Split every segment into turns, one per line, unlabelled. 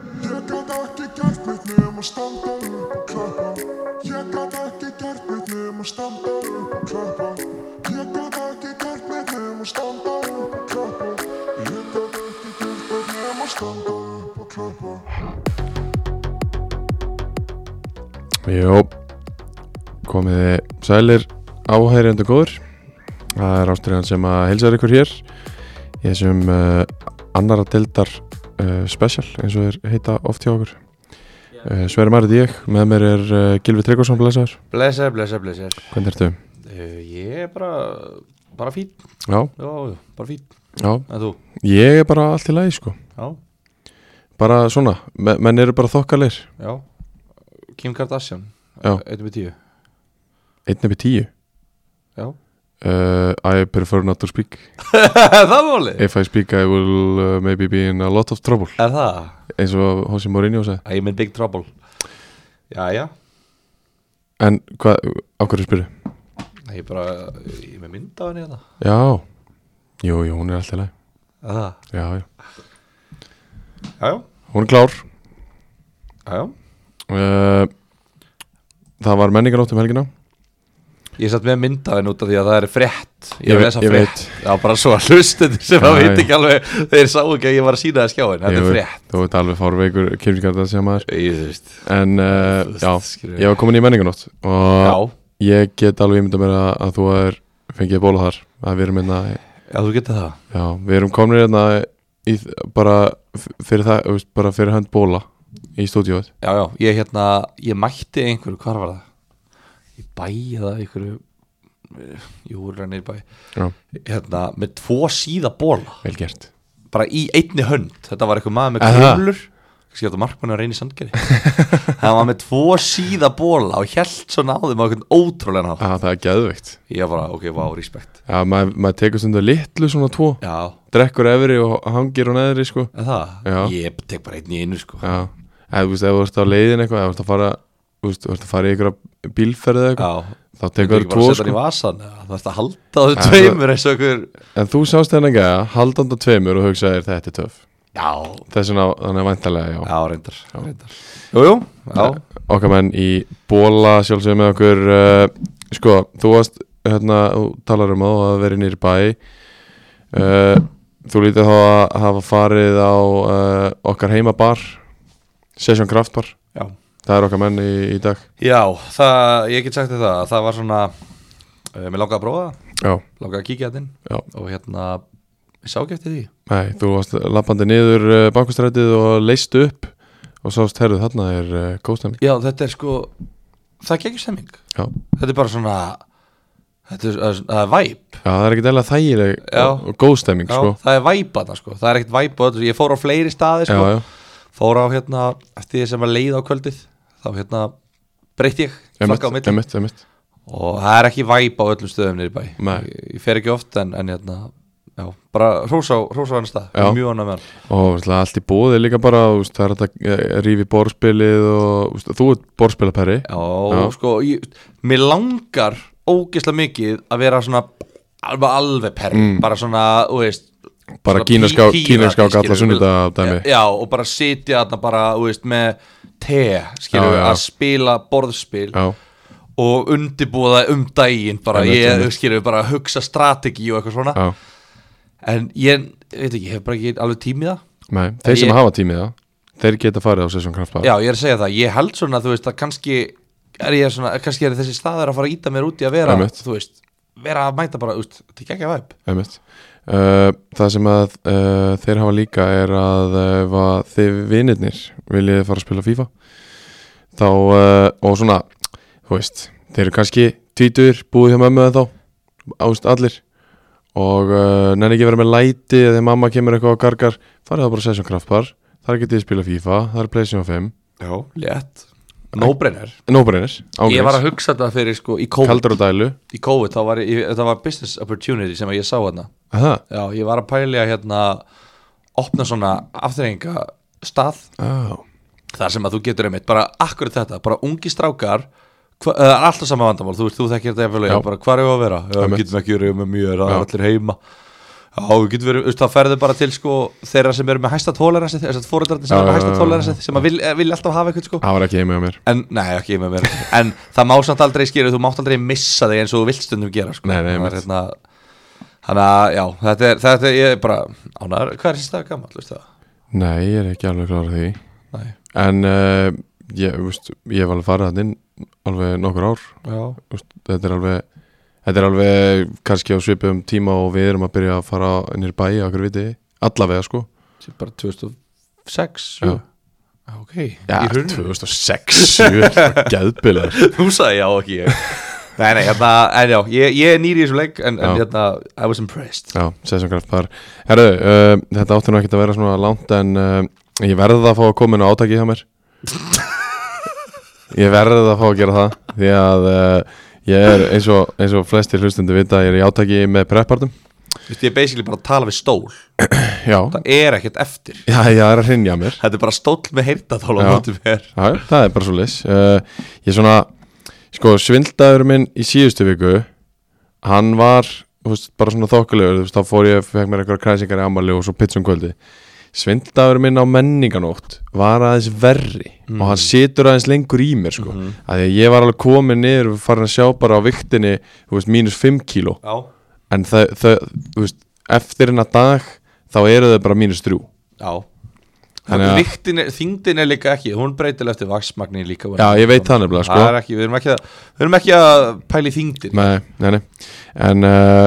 gat ekki gert mitt nema standa upp og klappa Ég gat ekki gert mitt nema standa upp og klappa Ég gat ekki gert mitt nema standa upp og klappa Ég gat ekki gert mitt nema standa upp og klappa
Jó, komið þið sælir áhærendu góður. Það er ástriðan sem að heilsaður ykkur hér í þessum uh, annara deildar uh, special eins og þeir heita oft hjá okkur. Uh, Sverri Marrið ég, með mér er uh, Gilvi Tryggvason blæsaður.
Blessaður, blessaður, blessaður.
Hvernig ertu?
Uh, ég er bara, bara fín,
Já,
já, já, bara fín.
já,
En þú?
ég er bara allt í lagi sko.
Já,
Bara svona, me menn eru bara þokkalir.
já. Kim Kardashian,
Já.
1 með 10.
1 upp í 10.
Já.
Uh, I prefer not to speak.
það var alveg.
If I speak I will uh, maybe be in a lot of trouble.
Er það?
Eins og Hossi Mourinho sagði.
I'm in big trouble. Já, já.
En hvað, á hverju spyrir?
Ég er bara, ég er með mynd af henni hérna.
Já, jú, jú, hún er alltaf leið
Er Það.
Já, já,
Já, já,
hún er klár
já, já.
uh, Það var menningarótt um helgina
Ég er satt með mynd af henni út af því að það er frétt. Ég,
Ég
er
ve-
að lesa
ég
frétt.
veit.
Já, bara svo að hlustendur sem að
Já,
veit
já.
ekki alveg, þeir sáu ekki að ég var að sína það skjáin. Þetta
Jú,
er frétt.
Þú veit alveg fárveikur kynningar það sem maður
Ég veist.
En uh,
Þú
já,
skrifar.
ég var komin í menningarótt
Já.
Og ég get alveg ímynda mér að, að þú er fengið bóla þar Að við erum einna,
Já, þú getur það.
já, við erum komin einna í, bara, f- fyrir það, þú veist, bara fyrir hönd bóla Í stúdíóið
Já, já, ég hérna, ég mætti einhverju, hvar var það? Í bæ eða einhverju, eh, jú, rennir í bæ
Já,
Hérna, með tvo síða bóla,
vel gert
bara í einni hönd Þetta var eitthvað maður með
Aha.
krumlur Kanski þetta markmann að reyni sandgeri Það var með tvo síða bóla og hjælt svo náðum á einhvern ótrúlega nátt
ah, Það er geðveikt
Ég var bara, ok, vá, respekt
Já, maður maður tekur stundu litlu svona tvo
Já,
drekkur efri og hangir og neðri sko.
er það,
Já.
ég tek bara einn í einu sko Já,
já, eða þú veist, ef þú ert á leiðin eitthvað eða þú ert að fara, þú veist, þú ert að fara í einhverja bílferð eða eitthvað, þá
Tekur
tekur
ekki
þú
bara
tvo
að setja hann
sko.
í vasan eða Það þarf að halda þau
það-
tveimur eins og okkur
en þú sást þennan gæja, haldandi á tveimur og hugsaðir þetta er töff,
Já,
þess vegna þannig væntalega, já,
Já, reyndar, reyndar. Jú, jú, já,
okkar menn í bóla sjálfsögum með okkur uh, sko, þú varst hérna, þú talar um að þú hafa verið nýri bæ uh, þú lítið þá að hafa farið á uh, okkar heimabar Session Kraftbar
já.
það er okkar menn í, í dag
Já, það, ég get sagt þér það, það var svona, uh, mér langaði að prófa það,
já,
langaði að kíkja þetta inn
já,
og hérna, ég sá ekki eftir því.
nei, þú varst lappandi niður uh, bankustrætið og leist upp og sást, herruð, þarna er uh, góðstæmi
Já, þetta er sko, það er ekki stemming,
já. já,
þetta er bara svona, þetta er, eh, það er- það er væp,
það er ekkert eðla þægileg
Já.
og, og góðstæming,
já,
sko
það er væp að það sko, það er ekkert væp og öllu, ég fór á fleiri staði sko,
já, já,
fór á hérna, eftir því sem var leið á kvöldið, þá hérna, breytti ég, flakka á
emitt,
milli.
emitt, emitt
og það er ekki væp á öllum stöðum niður í bæ
Nei.
ég, ég fer ekki oft en, en hérna, já, bara hrós á hrós á hann stað,
Já.
Ég er mjög annað með hann
og ætla, allt í bóði líka bara úst, það er hægt að eh, rífi borðspilið og úst, þú ert borðspilaperri
já, og sko, ég, mér langar ógeðslega mikið að vera svona alveg alveg perri bara svona, þú veist
Mm. Bara
svona
kínaská-
pí-
kínaská
pírati,
galla
skilur við.
sunnudag dæmi.
já, og bara sitja þarna bara, þú veist, með te, skilur
Já,
við,
já.
að spila borðspil
já,
og undibúða um daginn bara,
Einmitt,
ég,
einmitt.
skilur við, bara að hugsa strategi og eitthvað svona
já,
en ég, ég veit ekki, ég hef bara ekki alveg tími í það
nei, þeir sem
ég-
hafa tímið það þeir geta farið á Session Kraftbar
Já, ég er að segja það, ég held svona, þú veist, að kannski er ég svona, kannski er þessi staður að fara að íta mér út í að vera,
Einmitt.
þú veist vera að mæta bara, þú veist, þetta er ekki ekki að væp
Einmitt. Uh, það sem að uh, þeir hafa líka er að uh, ef að þið vinirnir viljið fara að spila FIFA þá, uh, og svona þú veist, þeir eru kannski tvítur, búið hjá mömmu en þá ást allir og uh, nenni ekki að vera með læti eða þegar mamma kemur eitthvað og gargar farið þá bara að sessjón kraftbar, þar getið þið spila FIFA þar er PlayStation 5,
Já, létt Nóbrenner,
nóbreynir
ég var að hugsa þetta fyrir sko í COVID,
kaldur og dælu
í COVID þá var ég, þetta var business opportunity sem að ég sá hérna
Aha.
Já, ég var að pælja hérna opna svona afturrenga stað
Oh.
þar sem að þú getur einmitt bara akkurat þetta, bara ungi strákar hva- eh, það er alltaf sama vandamál, þú veist, þú þekkir þetta eftir
Já.
bara hvar er ég að vera, já,
Einmitt.
getum ekki verið með mjög um það er
Já.
allir heima já, Já, þú getur verið, þú veist, það ferðu bara til sko þeirra sem eru með hæsta tólerensið, þess að fóröldarnir sem
Já,
eru með
já,
hæsta
já,
tólerensið sem að vil, eh, vilja alltaf hafa eitthvað sko
Það var ekki heimið á mér
En, nei, ekki með mér En það má samt aldrei skýra, þú mátt aldrei missa þig eins og þú vilt stundum gera sko.
Nei, nei,
Það er
einmitt.
hérna Þannig að, já, þetta er, þetta er, ég er bara Ánar, hvað er þessi dag gammal, veist það?
Nei, ég er ekki alveg klar á því
Nei,
En uh, ég, veist, ég hef alveg farið hann inn alveg nokkur ár
já,
veist, þetta er alveg þetta er alveg kannski á svipum tíma og við erum að byrja að fara inn í bæ okkur viti, allavega sko
þetta er bara 2006
Já. Ah,
sjö. Já, ok
Já,
Í hruninu.
2006 Gæðbilar
Þú sagði já, ekki ég Nei, nei, hérna, en já, ég, ég er nýri í þessum leik En, en
Já.
hérna, I was impressed
Já, sessjónkraft þar Herru, uh, þetta átti nú ekkert að vera svona langt en uh, ég verði að fá að koma inn á átaki hjá mér Ég verði að fá að gera það því að uh, ég er eins og, eins og flestir hlustundi vita ég er í átaki með preppartum
Vist, Ég er basically bara að tala við stól
Já,
Það er ekkert eftir
já, ég er að hrinja mér
Þetta er bara stóll með heyrnatól á
Já.
móti mér
Já, já, það er bara svo leis uh, Ég er svona, sko, svindlaður minn í síðustu viku Hann var, þú veist, bara svona þokkulegur Þú veist, þá fór ég, fekk mér einhverja kræsingar í ammali og svo pizzum kvöldi Svindlaður minn á menninganótt var aðeins verri Og hann situr aðeins lengur í mér, sko mm. Því að ég var alveg komin niður og farin að sjá bara á viktinni Þú veist, mínus 5 kíló
Já,
En þau, þau, þú veist, eftir hennar dag Þá eru þau bara mínus 3
já
Þannig að-
Vigtin er- Þyngdin er líka ekki, hún breytil eftir vaksmagni líka
Já, ég veit það nefnilega, sko
Það er ekki, við erum ekki að, við erum ekki að pæli þyngdin
Nei, nei, nei En uh,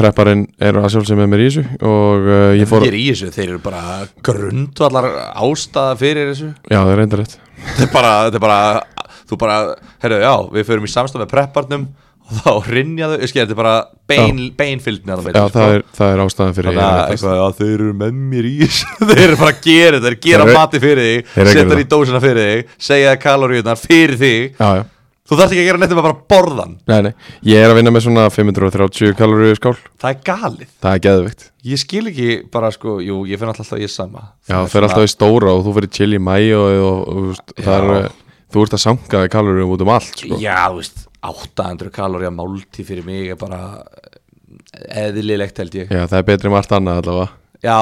prepparinn eru að sjálfsögum með mér í þessu Og uh, ég fór
Þeir í þessu, þeir eru bara grundvallar ástæða fyrir þessu
Já, það er reyndar rétt
þetta er bara, þetta er bara þú bara, herru, já, við förum í samstaf með prepparnum og þá rinja þau, ég skil, þetta er bara bein, beinfylgni að
Já, það er, það er ástæðan fyrir
sko. Þannig að
ég,
eitthvað, já, þeir eru með mér í þessu Þeir eru bara að gera þetta, þeir gera
Þeir eru-
mati fyrir þig
Þeir eru að
Setja
gera
það í
það.
dósina fyrir þig Segja kaloríunar fyrir þig
Já, já
Þú þarft ekki að gera neitt um að bara borðan
Nei, nei Ég er að vinna með svona 530 kaloríu skál
Það er galið
Það er geðvikt
Ég skil ekki bara, sko, jú, ég finn alltaf að ég er sama
Já, það fer alltaf í stóra og þú fyrir chill í mæ og, og, og þú veist, það er
Já.
eh, Þú ert að sanga í kaloríum út um allt, sko
Já, þú veist, 800 kaloríu máltíð fyrir mig er bara eðlilegt held ég
Já, það er betri um allt annað allavega
Já,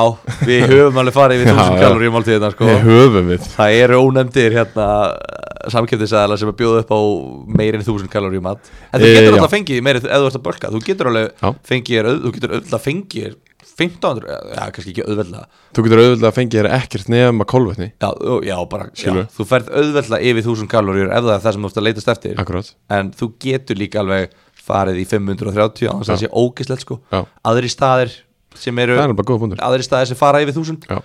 við höfum alveg farið yfir
Já,
1000
já.
kaloríum máltíðina sko.
Ég höfum við
Það eru ónefndir hérna, samkjöfnisæðala sem er bjóð upp á meirinn 1000 kaloríum mat En þú
Eh,
getur
já.
alltaf fengið meiri ef þú ert að bölka Þú getur alveg
Já.
fengið, þér auð- þú getur auðvitað fengið þér 1500, já kannski ekki auðvitað
Þú getur auðvitað að fengi þér ekkert nefn að kolvetni
Já, þú- já bara, já,
Skilurðu?
þú ferð auðvitað yfir 1000 kaloríur ef það er það sem þú ert að leitast eftir
Akkurát
En þú getur líka alveg farið í 530 án þess að það
Já.
sé ógislegt sko
Já.
Aðri staðir sem eru
Það er bara góða punktur
aðri staðir sem fara yfir 1000
Já,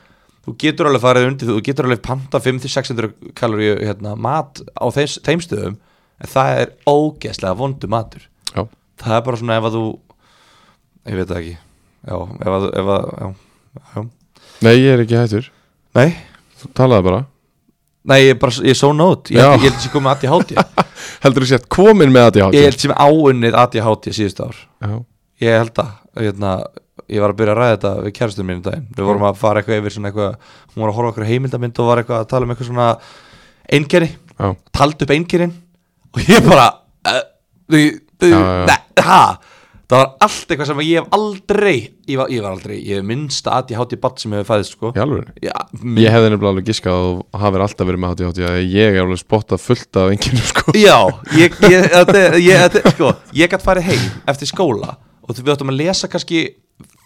þú getur alveg farið undir þú getur alveg panta 500-600 kaloríu hérna, mat á þeim, þeim stöðum en það er ógeðslega vondu matur
já
það er bara svona ef að þú ég veit það ekki já, ef að, ef að já, já.
Nei, ég er ekki hættur
nei,
Þú talaði bara
nei, ég er bara, ég er so not ég,
Já.
ég held að ég komið ADHD
Heldur þú sett komin með að
ég held sem áunnið ADHD síðust ár
Já,
ég held að hérna, ég var að byrja að ræða þetta við kærastum mínu daginn við vorum að fara eitthvað yfir svona eitthvað hún var að horfa okkur heimildamind og var eitthvað að tala um eitthvað svona einkenni
já,
taldi upp einkerinn og ég bara uh, uh, uh,
Já, já, já.
ne, ha, það var allt eitthvað sem ég hef aldrei ég var, ég var aldrei, ég hef minnst að ég hátti batt sem hefur fæðist sko
í alveg
Já,
Ég hefði nefnilega alveg giskað og hafði alltaf verið með hátíð hátíð Ég er alveg spottað fullt af enginu sko
já ég, ég, þetta, ég, þetta, sko, ég gætt farið heim eftir skóla og við áttum að lesa kannski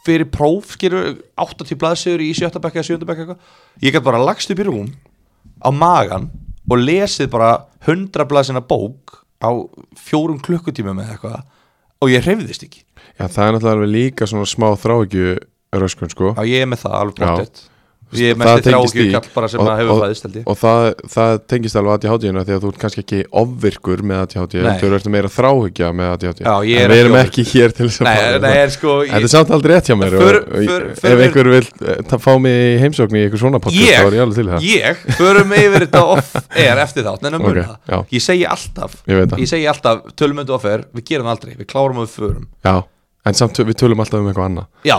fyrir próf skilur 80 blaðsögur í 7. bekka eða 7. bekka eitthvað ég gætt bara lagst upp í rúm á magan og lesið bara 100 blaðsina bók á fjórum klukkutímum eða eitthvað og ég hreyfðist ekki
Já, það er náttúrulega alveg líka svona smá þráhyggju röskun sko
Já, ég er með það alveg
Já.
bóttið Ég er með því þrákju kall bara sem
og-
að hefur
og-
fæðist held ég
Og það, það tengist alveg aðtíð hátíðina Því að þú ert kannski ekki ofvirkur með aðtíð hátíð
Nei.
Þú ert meira þráhyggja með aðtíð hátíð
Já, ég
En
er
við
ekki
erum
ofvirkur.
ekki hér til þess að
Nei,
fara-
nei, en sko
Þetta er
ég,
samt aldrei rétt hjá mér og-
För-
og-
för-
Ef
för-
einhver vil eh, ta- fá mig í heimsókn í eitthvað svona podcast Þá er ég alveg til í það
ég, ég förum yfir þetta off air eftir þátt en um
Ok,
okay,
já.
ég segi alltaf
Ég veit það.
ég segi alltaf, tölum undir off air, við gerum það aldrei við klárum og við förum
Já, en samt við tölum alltaf um eitthvað annað
Já,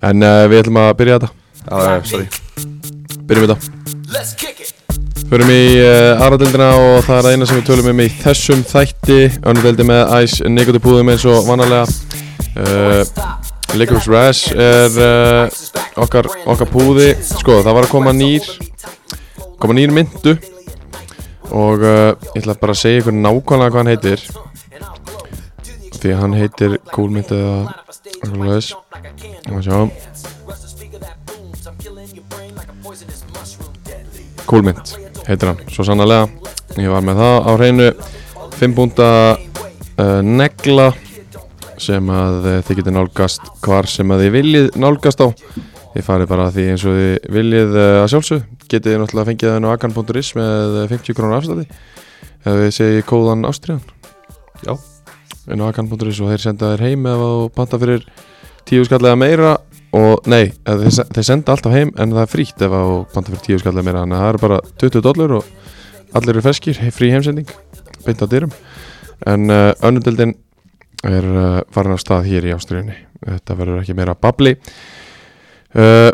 En uh, við ætlum að byrja þetta
já, já, sorry
Byrjum þetta Förum í uh, aðradildina og það er það eina sem við tölum um í þessum þætti Önnudeldi með æs negotipúðum eins og vanalega uh, Liquors Rash er uh, okkar, okkar púði sko það var að koma nýr koma nýr myndu og uh, ég ætla bara að segja ykkur nákvæmlega hvað hann heitir því að hann heitir kúlmyndu eða eitthvað leðis og sjá kúlmynd heitir hann svo sannarlega ég var með það á hreinu 5 búnda uh, negla sem að eh, þið getið nálgast hvar sem að þið viljið nálgast á þið farið bara að því eins og þið viljið eh, að sjálfsög getið þið náttúrulega fengið það á akan.is með eh, 50 krónur afstæði ef þið segið kóðan ástriðan
Já.
inn á akan.is og þeir senda þér heim ef þú panta fyrir 10 skallega meira og nei, eh, þeir, se- þeir senda alltaf heim en það er frítt ef þú panta fyrir 10 skallega meira þannig að það eru bara 20 dollur og allir eru ferskir, he- frí heimsending beint á dyrum en uh, önnundeldin er uh, farin af stað hér í Ástriðinni þetta verður ekki meira babli uh,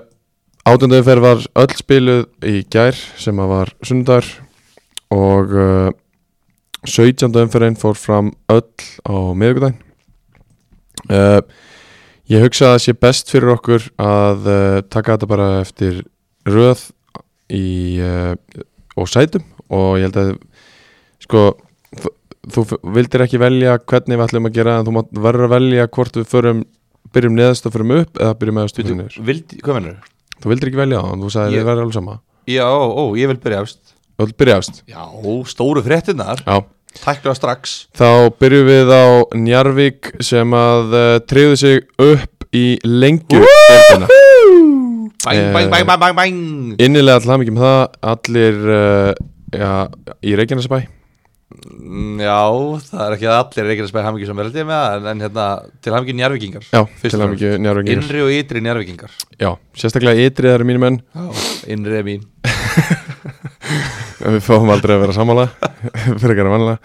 átundöðumferð var öll spiluð í gær sem að var sundar og uh, 17. umferðin fór fram öll á miðvikudaginn uh, ég hugsa að það sé best fyrir okkur að uh, taka þetta bara eftir röð í, uh, og sætum og ég held að sko þú f- vildir ekki velja hvernig við ætlum að gera en þú mátt verður að velja hvort við förum byrjum neðast og förum upp eða byrjum neðast og förum niður
Vildi, hvað mennur?
þú vildir ekki velja það en þú sagði
Ég-
þið verður alveg sama
Já, ó, ó, ég vil byrja efst
þú vilt byrja efst
Já, stóru fréttinnar
já
Tækla strax
þá byrjum við á Njarvík sem að uh, treyðu sig upp í lengju deildina.
Bæng,
Eh,
bæng, bæng, bæng, bæng, bæng
innilega til hamingjum það allir uh, já, í Reykjanesbæ
Mm, Já, það er ekki að allir er ekki að spæða hamingi sem verðið með það, en, en hérna, til hamingi njárvikingar
já, til hamingju Njarvík
Innri og ytri njárvikingar
já, sérstaklega ytrið eru mínum menn
Innri er mín
En við fáum aldrei að vera sammála fyrir að vanlega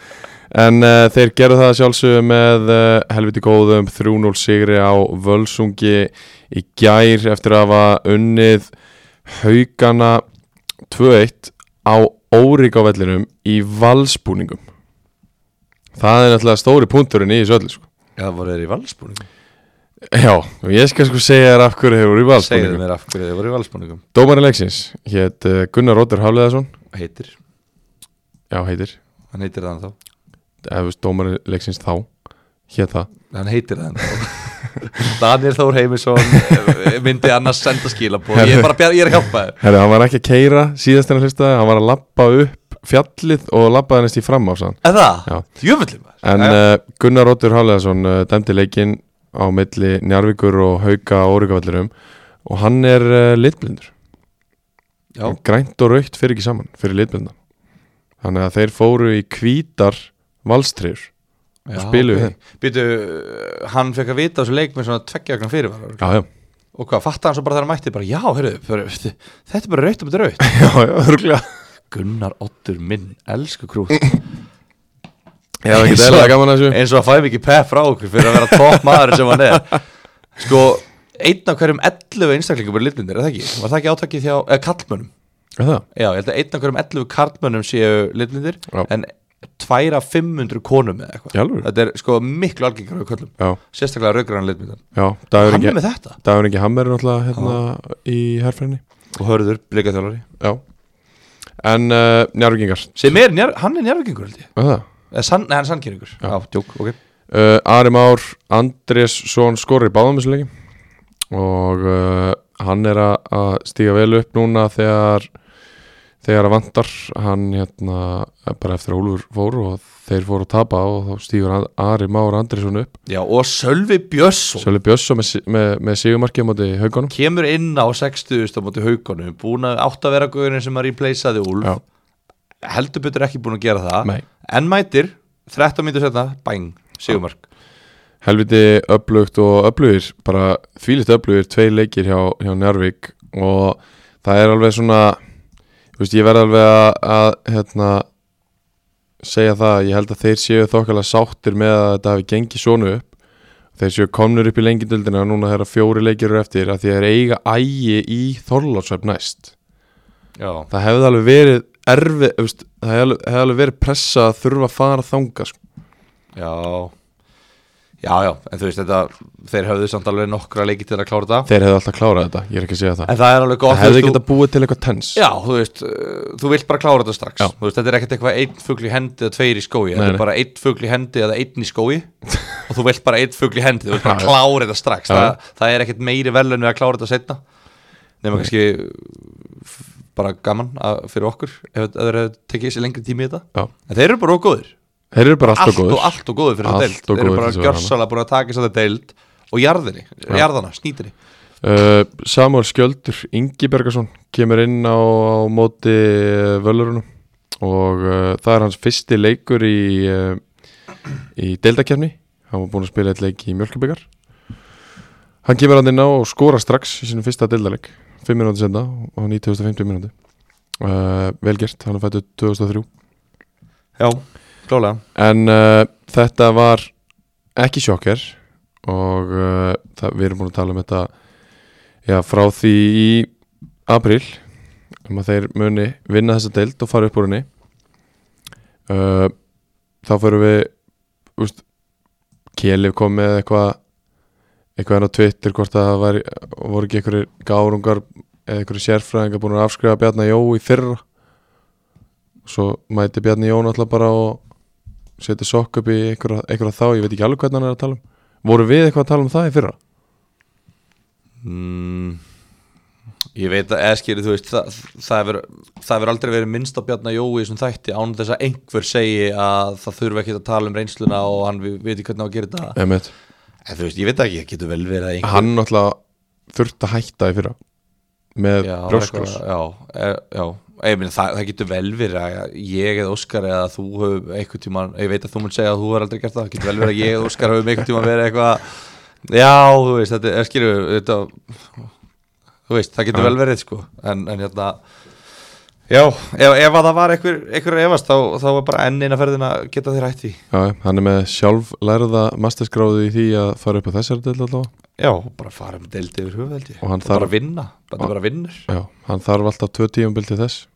en uh, þeir gerðu það að sjálfsögðu með uh, helviti góðum 3-0 sigri á Völsungi í gær eftir að hafa unnið haugana 2-1 á órík á vellinum í valsbúningum það er náttúrulega stóri punkturinn í þessu öllu sko.
Já, voru þeir í valsbúningum
já, og ég skal sko segja þér af hverju hefur í
Segðu
valsbúningum
mér af hverju þeir voru í valsbúningum
dómarin leiksins hétt uh, Gunnar Róður Hafleðarsson
Heitir,
já, heitir,
hann heitir það þá
ef dómarin leiksins þá hétt það
Hann heitir það þá Daniel Þór Heimisson eh, myndi annars senda skilabóð Ég er bara að bjar- ég er að hjálpa þér
Herri, hann var ekki að keira síðast en að hlusta Hann var að lappa upp fjallið og lappaði næst í fram á sann
Er
Já.
það? Jöfullum
En uh, Gunnar Róttur Háleðarsson uh, dæmdi leikinn á milli Njarvíkur og Hauka og Órikavallurum og hann er uh, litblindur
Já.
Grænt og raukt fyrir ekki saman fyrir litblindan Þannig að þeir fóru í hvítar valstriður
Já,
spiluðu
ok. Býtu, hann fekk að vita á þessu leik með svona tveggjagnan fyrirvara
Já, já,
Og hvað, fatta hann svo bara þegar hann mætti bara, já, heyrðu, bara, þetta er bara raut og bara raut
já, já, örgulega
Gunnar Ottur minn, elsku krús
Já, ekki dæla gaman að þessu
Eins og að fæði mikið pepp frá okkur fyrir að vera topp maður sem hann er Sko, einn af hverjum 11 einstaklingum er litblindir, er það ekki? Var það ekki átakið hjá, eh, eða kallmönnum?
Er það?
Já, ég held að einn af hverjum 11 kallmönnum séu litblindir
Já.
En tværa 500 konum eða
Í
eitthvað
alvöru?
Þetta er sko miklu algengar á köllum
Já,
Sérstaklega raugrann litblindan
já, dagur
Hann er
ekki
með þetta
Dagur ekki Hammer er náttúrulega hérna í herfrinni
og hörður blikaþjólari
Já En uh, njárvíkingar
sem er, njör, hann er njárvíkingur held ég
Er það?
eða sann, nei, hann er sannkynningur já, djók, ok
Uh, Ari Már Andrésson skorri báðum þessu leiki og uh, hann er að- að stíga vel upp núna þegar þegar að vantar hann hérna bara eftir að Úlfur fór og þeir fóru að tapa og þá stígur hann- Ari Már Andrésson upp
já, og Sölvi Björnsson
Sjölu Björnsson með, si- með, með sigumarki á móti haugunum
kemur inn á 60 á móti haugunum búin að átt að vera guðurinn sem að replaceaði Úlf
Já,
heldur betur ekki búin að gera það
Nei.
en mætir, 13 myndir setna bæng, sigumark
helviti öflugt og öflugir bara þvílitt öflugir, tvei leikir hjá, hjá Njárvík og það er alveg svona þú veist, ég verð alveg að, að hérna, segja það, ég held að þeir séu þokkala sáttir með að þetta hafi gengið svona upp þeir séu komnur upp í lengindöldina og núna þeirra fjóri leikir eru eftir að þeir eiga ægi í Þorlátsvefn næst
já,
það hefði alveg verið erfi, þú veist, það hefði alveg- hefði alveg verið pressa að þurfa að fara þanga sko.
já já, já, en þú veist þetta þeir höfðu samt alveg nokkra leiki til að klára þetta
Þeir hefðu alltaf klárað þetta, ég er ekki að segja það
en það er alveg gott
Það hefðu
þú veist,
getað búið til eitthvað tens
þú- já, þú veist, uh, þú vilt bara klára þetta strax
Já.
þú veist, þetta er ekkert eitthvað einn fugl í hendi eða tveir í skói, þetta
nei.
er bara einn fugl í hendi eða einn í skói og þú vilt bara einn fugl í hendi, þú vilt bara
Já, já.
klára þetta strax
Já, já.
það, það er ekkert meiri velun við að klára þetta setna nema kannski uh, f- bara gaman að, fyrir okkur ef ef þeir hefðu tekið sér lengri tími í þetta
Já.
en þeir eru bara ógóðir
Þeir eru bara
allt
alltaf
og,
góður
allt og góður fyrir
Allt
þessa deild
og
Þeir eru
góður
bara
fyrir þessa
gjörsalega búin að taka þessa deild og jarðinni, jarðana, snýtinni
uh, Samuel Skjöldur Ingibergarsson kemur inn á, á móti uh, völlurunum og uh, það er hans fyrsti leikur í, uh, í deildakefni hann var búinn að spila eitt leik í Mjölkabyggar hann kemur hann inn á og skora strax í sinum fyrsta deildaleik 5 minúti senda og hann í 2050 minúti uh, vel gert, hann er fættu 2003
Já, klálega
en uh, þetta var ekki sjokker og uh, það, við erum búin að tala um þetta já, frá því í april um að þeir muni vinna þessa deild og fara upp úr henni uh, þá fyrir við úst, Kjelif kom með eitthvað eitthvað enn á Twitter hvort að það væri, voru ekki einhverjir gárungar eða einhverjir sérfræðingar búin að afskrifa Bjarni Jó í fyrra svo mæti Bjarni Jó náttúrulega bara og setja sokk upp í einhverja, einhverja þá ég veit ekki alveg hvernig hann er að tala um voru við eitthvað að tala um það í fyrra?
mm, Ég veit að eða skýri, þú veist það, það hefur það hefur aldrei verið minnst á Bjarna Jói sem þætti án þess að einhver segi að það þurfi ekki að tala um reynsluna og hann vi- veit ekki hvernig á að gera þetta
Emmett.
en, Þú veist, ég veit ekki, það getur vel verið að einhver
hann náttúrulega þurft að hætta í fyrra með
Já,
brjóskos
eitthvað, Já, e, já Ég minn, það, það getur vel verið að ég eða Óskar eða þú höfum einhvern tíman ég veit að þú mun segja að þú hefur aldrei gert það það getur vel verið að ég eða Óskar höfum einhvern tíman verið eitthvað já, þú veist, þetta er skilju þetta, þú veist, það getur
Já.
vel verið sko, en, en hérna já, ef, ef að það var einhver, einhver að efast, þá, þá var bara enn eina ferðin að geta þér hætt því,
Já, já, hann er með sjálf lærða masterskráðu í því að fara upp á þessari del allavega
já, bara fara með deildi yfir höfuveldi,
Og hann
bara
þarf-
vinna bara, bara vinnur,
já, hann þarf alltaf tvö tíumbil til þess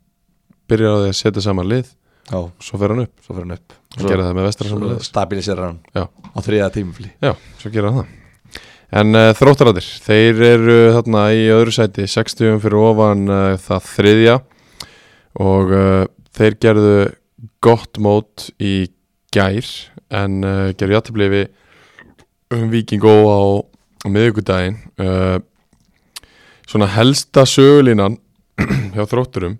byrjar á því að setja saman lið
já,
svo fer hann upp,
svo fyrir hann upp
hann gerði það með vestra saman
svo
lið
stabilisera hann
Já.
á þriða tímfli
Já, svo gera það En uh, þróttarættir, þeir eru þarna í öðru sæti 60 fyrir ofan uh, það þriðja og uh, þeir gerðu gott mót í gær en uh, gerðu játtabli við um Víking Ó á, á miðvikudaginn uh, Svona helsta sögulínan hjá þrótturum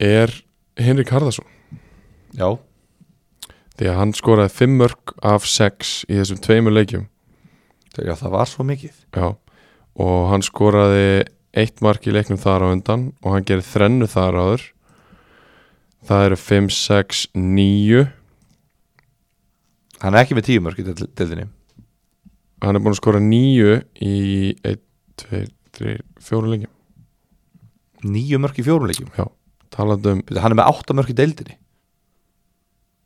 er Henrik Harðarsson
Já,
því að hann skoraði 5 mörg af 6 í þessum tveimur leikjum
já það var svo mikið
Já, og hann skoraði eitt mark í leiknum þar á undan og hann gerir þrennu þar áður Það eru 5, 6, 9
Hann er ekki með tíu mörg í del- deildinni
Hann er búin að skora 9 í 1, 2, 3, 4 lengi
Níu mörg í fjórum leikjum
Já, talandi um
Bíddu, Hann er með átta mörg í deildinni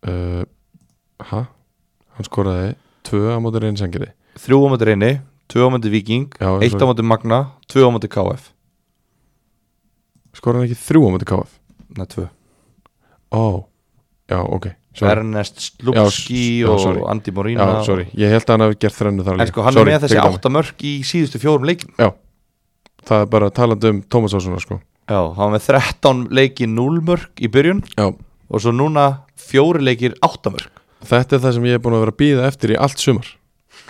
uh, Hæ? Hann skoraði 2 á móti reynsangeri
Þrjú á móti reyni, tvö á móti viking
Já, en
Eitt
svo-
á móti magna, tvö á móti KF
Skoraði hann ekki 3 á móti KF?
Nei, tvö
Ó, já, ok sorry.
Ernest Slupski
Já, s- já,
og
sorry.
Andi Morína
Já, sorry, ég held að hann hafi gert þrennu þar
En sko, hann
Sorry,
er með þessi
tekið dæmi.
átta mörg í síðustu fjórum leikjum
Það er bara talandi um Tómas Ássonar sko
Já, hann var með 13 leiki 0 mörg í byrjun
Já,
og svo núna fjóri leikir átta mörg
Þetta er það sem ég er búin að vera að býða eftir í allt sumar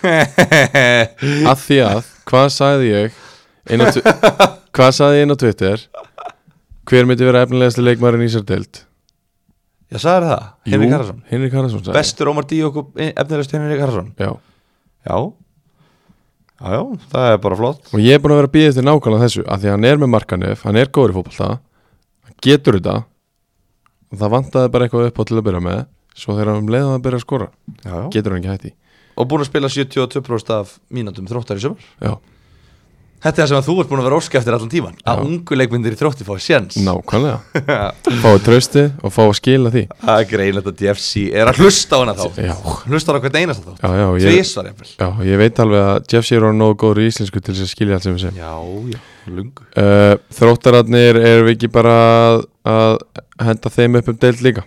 Að því að, hvað sagði ég inn á tw- Hvað sagði ég inn á Twitter Hver myndi vera efnilegasti leikmarin í sér deild?
Já, sagði það, Henrik Harðarsson
Henrik Harðarsson sagði
Bestur Ómar Díok og efnilegst Henrik Harðarsson
ég. Já,
Já Já, já, það er bara flott
og ég er búin að vera að býða eftir nákvæmlega þessu Að því að hann er með markanef, hann er góður í fótbolta Hann getur þetta Og það vantaði bara eitthvað upp á til að byrja með Svo þegar hann leiði að byrja að skora
já, já.
Getur hann ekki hætti
Og búin að spila 72% af mínandum þróttar í sömur
Já,
Þetta er það sem að þú ert búin að vera óska eftir allan tíman Að
Já.
ungu leikmyndir í þrótti fá sjens
nákvæmlega
Það
Fáið trösti og fáið að skila því
er greinlegt að DFC er að hlusta á hana þá
Já,
Hlusta á hana hvern einast þá
já, já ég-
Tvísvar eftir
Já, ég veit alveg að Jeff Shearer er nógu góður í íslensku til þess að skilja allt sem við segjum
Já, já, lungu
uh, Þróttararnir erum við ekki bara að, að henda þeim upp um deild líka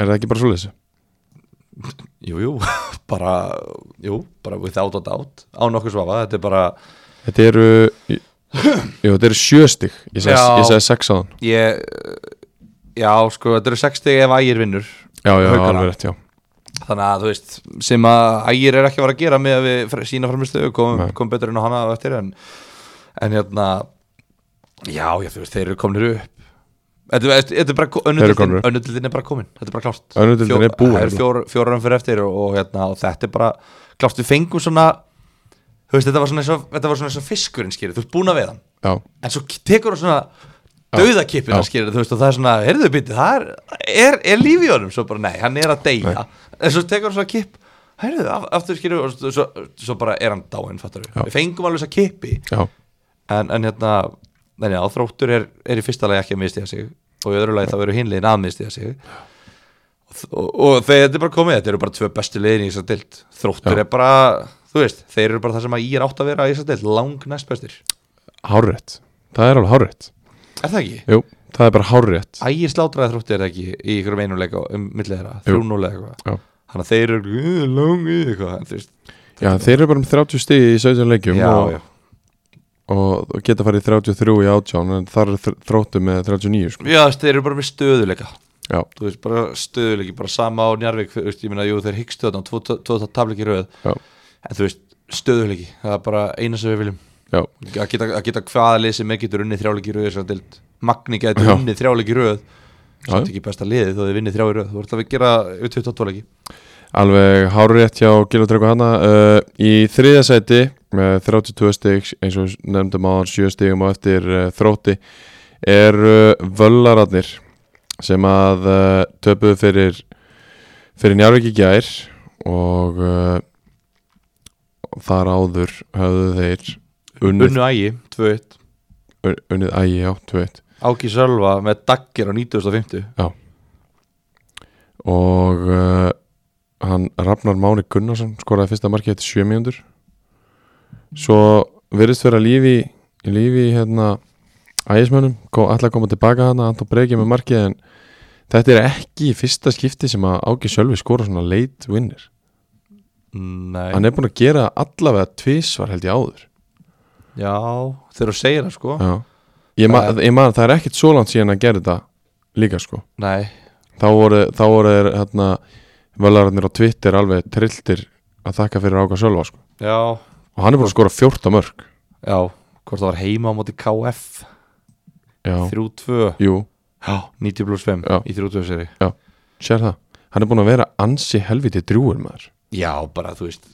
Er það ekki bara svoleiðis?
Jú, jú, bara, jú, bara without a doubt Á nokkuð svafa, þetta er bara
Þetta eru Jú, þetta eru sjöstig Ég sagði,
Já.
ég sagði sex á þann
Ég, já, sko, þetta eru 60 ef ægir vinnur
Já, já,
Haukana.
alveg rétt, já
Þannig að, þú veist, sem að ægir er ekki að vera að gera með að við fr- sína framistu kom,
Nei.
kom betur en á hana á eftir en, en hérna Já, já, þú veist, þeir eru komnir upp Þetta þetta- þetta er bara ko- önnur
Þeir eru
deildin-
komnir upp.
önnur deildin er bara komin, þetta er bara klárt
Önnur deildin
Fjó-
er búin, hérna.
Það er
nefnilega.
fjór, fjórarum fyrir eftir og, og, hérna, og þetta er bara klárt Við fengum svona, þú veist, þetta var svona, eins og- þetta var svona, svona fiskurinn skýrið, þú veist, búin að veið hann
Já,
en svo tekur hún svona dauðakippina
já.
skilur þú veist og það er svona, heyrðu býti, það er, er, er líf í honum, svo bara nei, hann er að deyja en svo tekur hún svona kipp heyrðu, af- aftur skilur og svo, svo, svo bara er hann dáinn, fattar við,
Já.
við fengum alveg þess að kippi
já,
en, en hérna, þannig að þróttur er, er í fyrsta lagi ekki að mistiða sig og í öðru lagi þá eru hinlegin að mistiða sig og, og, og þegar þetta er bara komið þetta eru bara tvö bestu liðin í þess að dild
Já.
þróttur er bara, þú veist, þeir eru bara það sem að ég er átt að vera í þess að dild, lang næst bestir
hárrétt Það er alveg hárrétt
er það ekki?
Jú, það er bara hárrétt
ægir slátraði þrótti er ekki í ykkur meinuleika um millið þeirra,
Jú.
þrjúnuleika eitthvað
Já.
þannig að þeir eru langið eitthvað en þú veist,
Já, þeir eru bara um 30 stig í 17 leikjum
já,
Um og,
já,
og geta farið í 33 í 18 en þar er þróttu með 39 sko.
já, þú veist, þeir eru bara með stöðuleika
Já,
þú veist, bara stöðuleiki, bara sama á Njarvík þú veist, ég meina, jú, þeir hyggstu þarna tvo, tvo, tvo tableiki röð,
já,
en þú veist stöðuleiki, það er bara eina sem við viljum
já,
að geta, að geta hvaða lið sem er getur unnið þrjáleiki röð þess að dild, Magni getur
Já.
unnið þrjáleiki röð
Já,
samt
já.
ekki besta liðið þó þið vinnið þrjá í röð, þú ert að gera yfir 22 leiki
alveg hárrétt hjá Gil og Tryggur Hanna uh, Í þriðja sæti með 32 stig eins og nefndum áðan 7 stigum og eftir uh, þrótti er uh, völlararnir sem að uh, töpuðu fyrir fyrir Njarvík í gær og uh, þar áður höfðu þeir unnið,
Unnu Ægi, 2-1
un- unnið ægi, já, 2-1
Áki Sölva með Dagger á 1950
og uh, hann Ragnar Máni Gunnarsson skoraði fyrsta markið eftir 7 mínútur svo virðist vera lífi í lífi í, hérna ægismönnum, kom, allar koma tilbaka hana Anton Breki með markið en þetta er ekki í fyrsta skipti sem að Áki Sjölvi skora svona late winner
Nei,
hann er búin að gera allavega tvisvar held ég áður
já, þegar þú segir það sko
Já. ég, ma
Það
ég man það er ekkit svo langt síðan að gera þetta líka sko
Nei,
þá voru, þá voru þeir hérna völararnir á Twitter alveg trilltir að þakka fyrir Áka Sölva sko.
já,
og hann er búin að skora 14 mörg
já Hvort það var heima á móti KF
já,
3-2,
jú,
já, 90 pluss 5
Já.
Í 3-2 seri
sér það hann er búin að vera ansi helviti drúur maður
Já, bara þú veist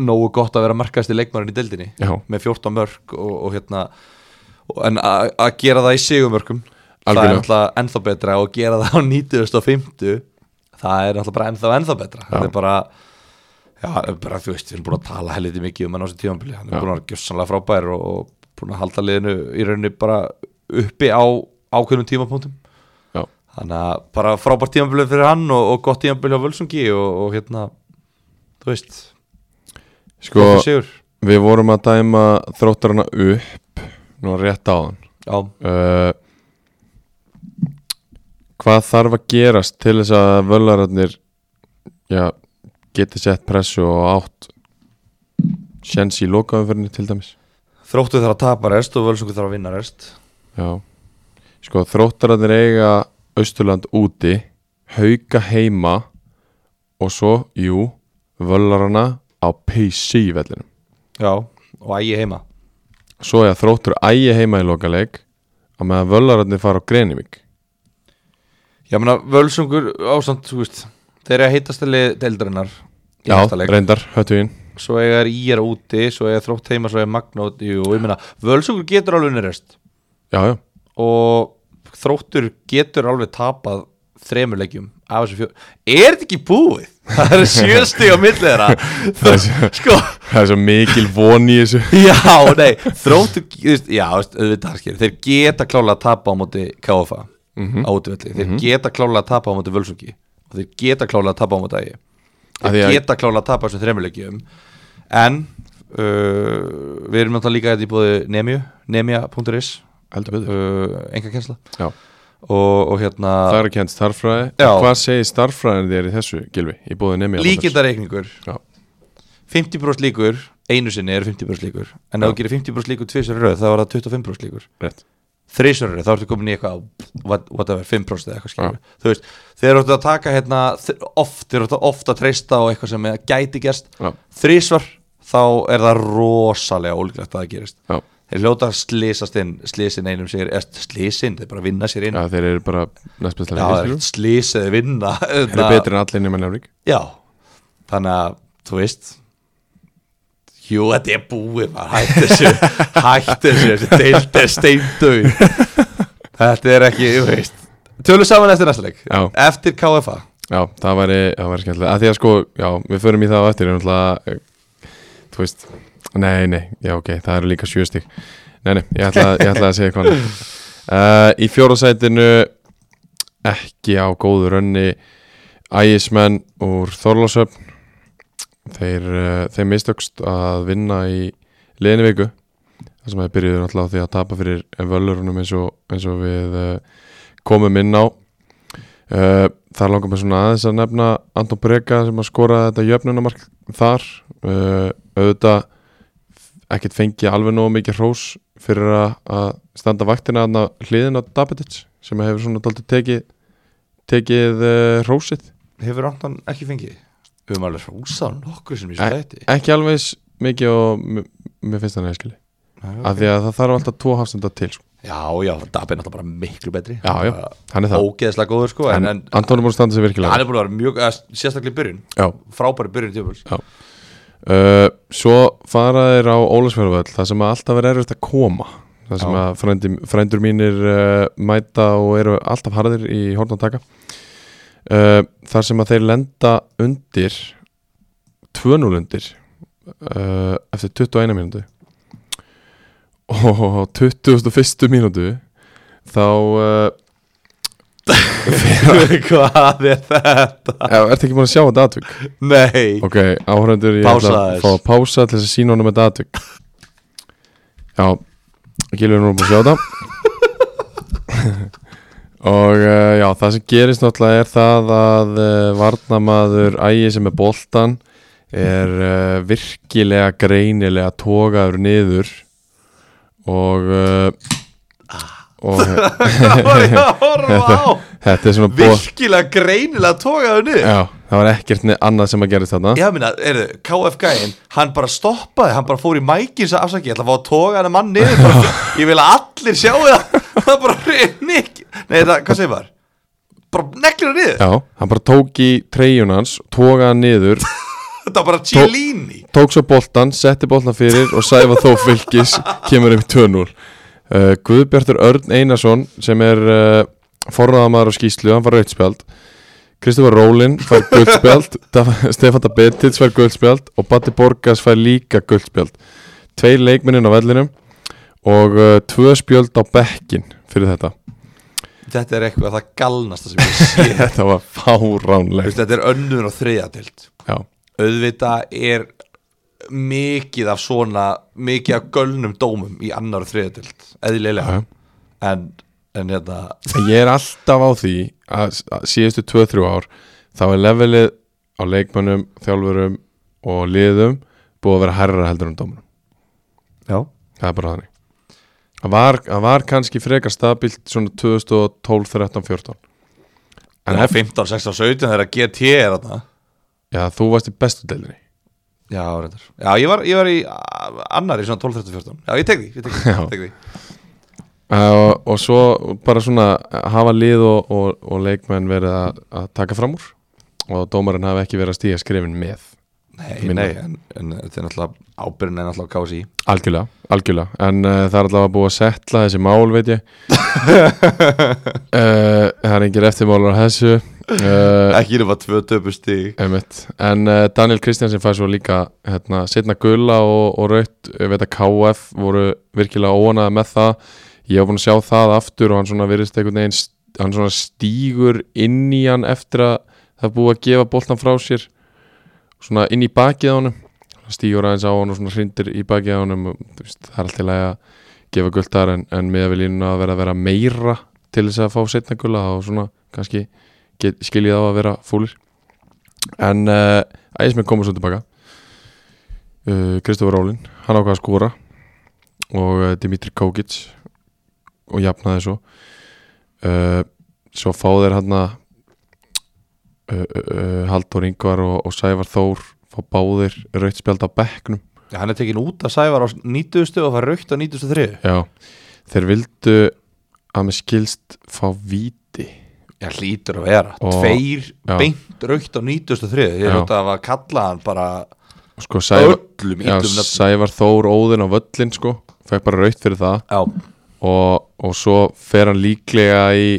Nógu gott að vera markast í leikmarinn í deildinni
já,
Með 14 mörg og, og hérna og- En að að gera það í sigumörkum Það er
Algjörlega.
alltaf ennþá betra og gera það á 90.50 Það er alltaf bara ennþá ennþá betra Þetta er bara Já, bara þú veist, við erum búin að tala helviti mikið um hann á þessu tímanbili,
Já.
hann er búin að vera gjössanlega frábær og, og búin að halda liðinu í rauninni bara uppi á ákveðnum tímapunktum
Já.
þannig að bara frábært tímanbili fyrir hann og, og gott tímanbili á Völsungi og, og hérna, þú veist
sko,
gott sigur
við vorum að dæma þróttarana upp nú rétt á hann
Já,
uh, hvað þarf að gerast til þess að völararnir já, geti sett pressu og átt sjens í lokaumferðinu til dæmis
þróttu þarf að tapa rest og Völsungi þarf að vinna rest
Já Sko þróttararnir eiga Austurland úti Hauka heima Og svo, jú, völlarana Á PC vellinum
Já, og ægi heima
Svo eiga þróttur ægi heima í lokaleik Á meðan völlararnir fara á Grenivík
Já, menna, Völsungur ásamt, þú veist þeir eru að heitast að lið deildarinnar í
Já,
næsta leik.
reyndar, höttu inn
svo eiga er IR úti, svo eiga þrótt heima, svo eiga Magna úti og ég meina, Völsungur getur alveg unni rest
Já, já,
og þróttur getur alveg tapað þremur leikjum af þessu fjör er þetta ekki búið? það eru sjösti á milli þeirra
Það er sjö-
Þr- sko,
það er svo mikil von í þessu
já, nei þróttur, þú veist, já, þú veist, auðvitað sker þeir geta klálega að tapa á móti KFA
Mhm.
á útvelli, þeir geta klálega að tapa á móti Völsungi og þeir geta klálega að tapa á móti ægi
Af því
þeir
að-
geta klálega að tapa þessum þremuleikjum en uh, við erum náttúrulega líka hérna í búið Nemju, nemja.is
Heldur betur
uh, enga kjensla
Já,
og, og hérna
Það er að kent starffræði
Já.
Hvað segir starffræðin þér í þessu, Gilvi? Í bóði nemi
líkindareikningur
Já.
50% líkur, einu sinni er 50% líkur en ef
Já.
þú gerir 50% líkur tvisar í röð þá er það 25% líkur
Rétt
þrísar í röð, þá ertu komin í eitthvað á what- whatever, 5% eða eitthvað skilur þú veist, þeir eru að taka hérna þ- oft, þeir eru oft að treysta á eitthvað sem eða gæti gerst,
Já,
þrísvar þá er það rosalega ólíklegt að það gerist
já.
þeir hljóta að slísast inn slísin einum sér, eða slísin þeir bara vinna sér inn,
já
já,
þeir eru bara næstbæðslega
það er slísið vinna, hérna.
Þeir eru betri en allir nema nefnvík
Já, þannig að þú veist Jú, þetta er búið maður hætti þessu, hætti þessu þessi deild er steindauð Þetta er ekki, þú veist Tölum saman eftir næsta leik
Já.
Eftir KFA
Já, það væri, það væri skemmtilega að Því að sko, já, við förum í það á eftir en náttúrulega, eh, Þú veist Nei, nei, já ok, það eru líka sjöstig Nei, nei, ég ætla, ég ætla að segja hvað annað. uh, Í fjórðasætinu Ekki á góðu rönni Ægismenn úr Þorlásöfn Þeir, uh, þeir mistökst að vinna í liðinni viku Það sem að byrjuðu náttúrulega á því að tapa fyrir völlurunum eins og, eins og við uh, komum inn á Uh, þar langar mér svona aðeins að nefna Anton Breka sem að skora þetta jöfnunamark þar uh, auðvitað ekkert fengi alveg nógu mikið hrós fyrir að, að standa vaktina þarna hliðin á Dabitic sem hefur svona daldið tekið tekið uh, hrósið
Hefur Anton ekki fengið? Við höfum alveg hrósað hann nokkur sem ég
Eh,
svo þetta
ekki alveg eins mikið og m- mér finnst þannig að skilji
Ah,
af því að það þarf alltaf tvo hafstenda til sko.
Já, já, Dabbi er náttúrulega bara miklu betri
já, já,
Bara
hann er það
Ógeðslega góður sko En,
en,
en
Anton er búin að standa sig
hann
virkilega
er búin að vera mjög, að, sérstaklega í byrjun
já,
Frábæri byrjun tjöfuls
Uh, svo fara þeir á Ólasfjörðvöll það sem að alltaf er erfitt að koma það sem
Já.
að frændi, frændur mínir uh, mæta og eru alltaf harðir í hórn að taka uh, þar sem að þeir lenda undir 2-0 undir uh, eftir 21 mínútu og á 21. mínútu þá uh,
Hvað er þetta?
ertu ekki búin að sjá þetta atvik
Nei
Ok, áhrendur, ég
Pása
ætla að
aðeins.
fá að pása til þess að sína honum þetta aðtök Já, Gilvin er búin að sjá það Og uh, já, það sem gerist náttúrulega er það að uh, varnamaður ægi sem er boltan er uh, virkilega greinilega togaður niður og uh, og
Það var ég að horfa á
þetta er svona bo-
Virkilega greinilega tókaðu niður
Já, það var ekkert ne- annað sem að gerist þarna
Ég meina, erðu, KFG-in Hann bara stoppaði, hann bara fór í mækins að afsaki Ég ætla að fá að toga hann mann niður bara, Ég vil að allir sjáu það Það bara reyni ekki Nei, það, hvað segir maður? Bara neglir hann niður
Já, hann bara tók í treyjun hans, tókaði hann niður,
Þetta var bara Cellini
tók svo boltan, setti boltan fyrir og sæfa þó fylgis, kemur um 2-0. Uh, Guðbjartur Örn Einarsson sem er uh, forraðamaður á skýslu, hann var rauðspjald. Kristofur Rólin fær guldspjald, Stefán Dabetits fær guldspjald og Batti Borgas fær líka guldspjald. Tveir leikminnin á vellinum og uh, tvö spjöld á bekkin fyrir þetta.
Þetta er eitthvað það galnasta sem ég sé Þú
Þetta var fáránlegt.
veist, Þetta er önnur og þriðatild
Já,
Auðvitað er mikið af svona mikið af gölnum dómum í annar og þriðatild eðlilega
já.
en, en hérna
ég er alltaf á því að að síðustu 2-3 ár þá er levelið á leikmönnum, þjálfurum og liðum búið að vera herra heldur um dómunum
Já.
það er bara þannig það var, það var kannski frekar stabilt svona 2012, 13, 14
En
en
það er
ef,
15, 16, 17 þegar GT er þarna
já, þú varst í bestu deildinni
Já, reyndar Já, ég var, ég var í a- annar í svona 12, 13, 14 Já, ég tek því, ég tek því,
Já.
tek því.
uh, og svo bara svona hafa lið og, og, og leikmenn verið að, að taka fram úr og dómarinn hafi ekki verið að stíga skrifin með
Nei,
Minna.
nei, en, en þetta er náttúrulega ábyrðin er náttúrulega kási
Algjörlega, algjörlega En uh, það er allavega búið að setla þessi mál, veit ég uh, Það er engin eftirmálar á þessu uh,
Ekki nema tvö töpustig
Einmitt. En uh, Daniel Kristjansson fær svo líka hérna, setna gula og, og raut við þetta KF voru virkilega óanað með það ég var búin að sjá það aftur og hann svona virðist einhvern veginn st- hann svona stígur inn í hann eftir að það er búið að gefa boltan frá sér svona inn í bakið á honum hann stígur aðeins á hann og svona hrindir í bakið á honum og, þú veist, það er alltaf að gefa gultar en, en miða við línuna að vera að vera meira til þess að fá setna gula og svona kannski get, skiljið á að vera fúlir en uh, ægismenn komur svo tilbaka uh, Kristofur Rólin hann ákvað að skora og uh, Dimitri Kókic og jafnaði svo uh, svo fá þeir hann að uh, uh, Haldur Ingvar og, og Sævar Þór fá báðir rautt spjald á bekknum
Já, hann er tekin út af Sævar á 90 og fær raukt á 93
Já, þeir vildu að með skilst fá víti
Já, hlýtur að vera
Og-
Tveir
já.
beint raukt á 93 Ég
Já.
hljóta að kalla hann bara
og sko Sævar,
öllum
já,
ítlum nöfnum
Sævar Þór óðinn á völlin sko, fæk bara rautt fyrir það
Já,
og, og svo fer hann líklega í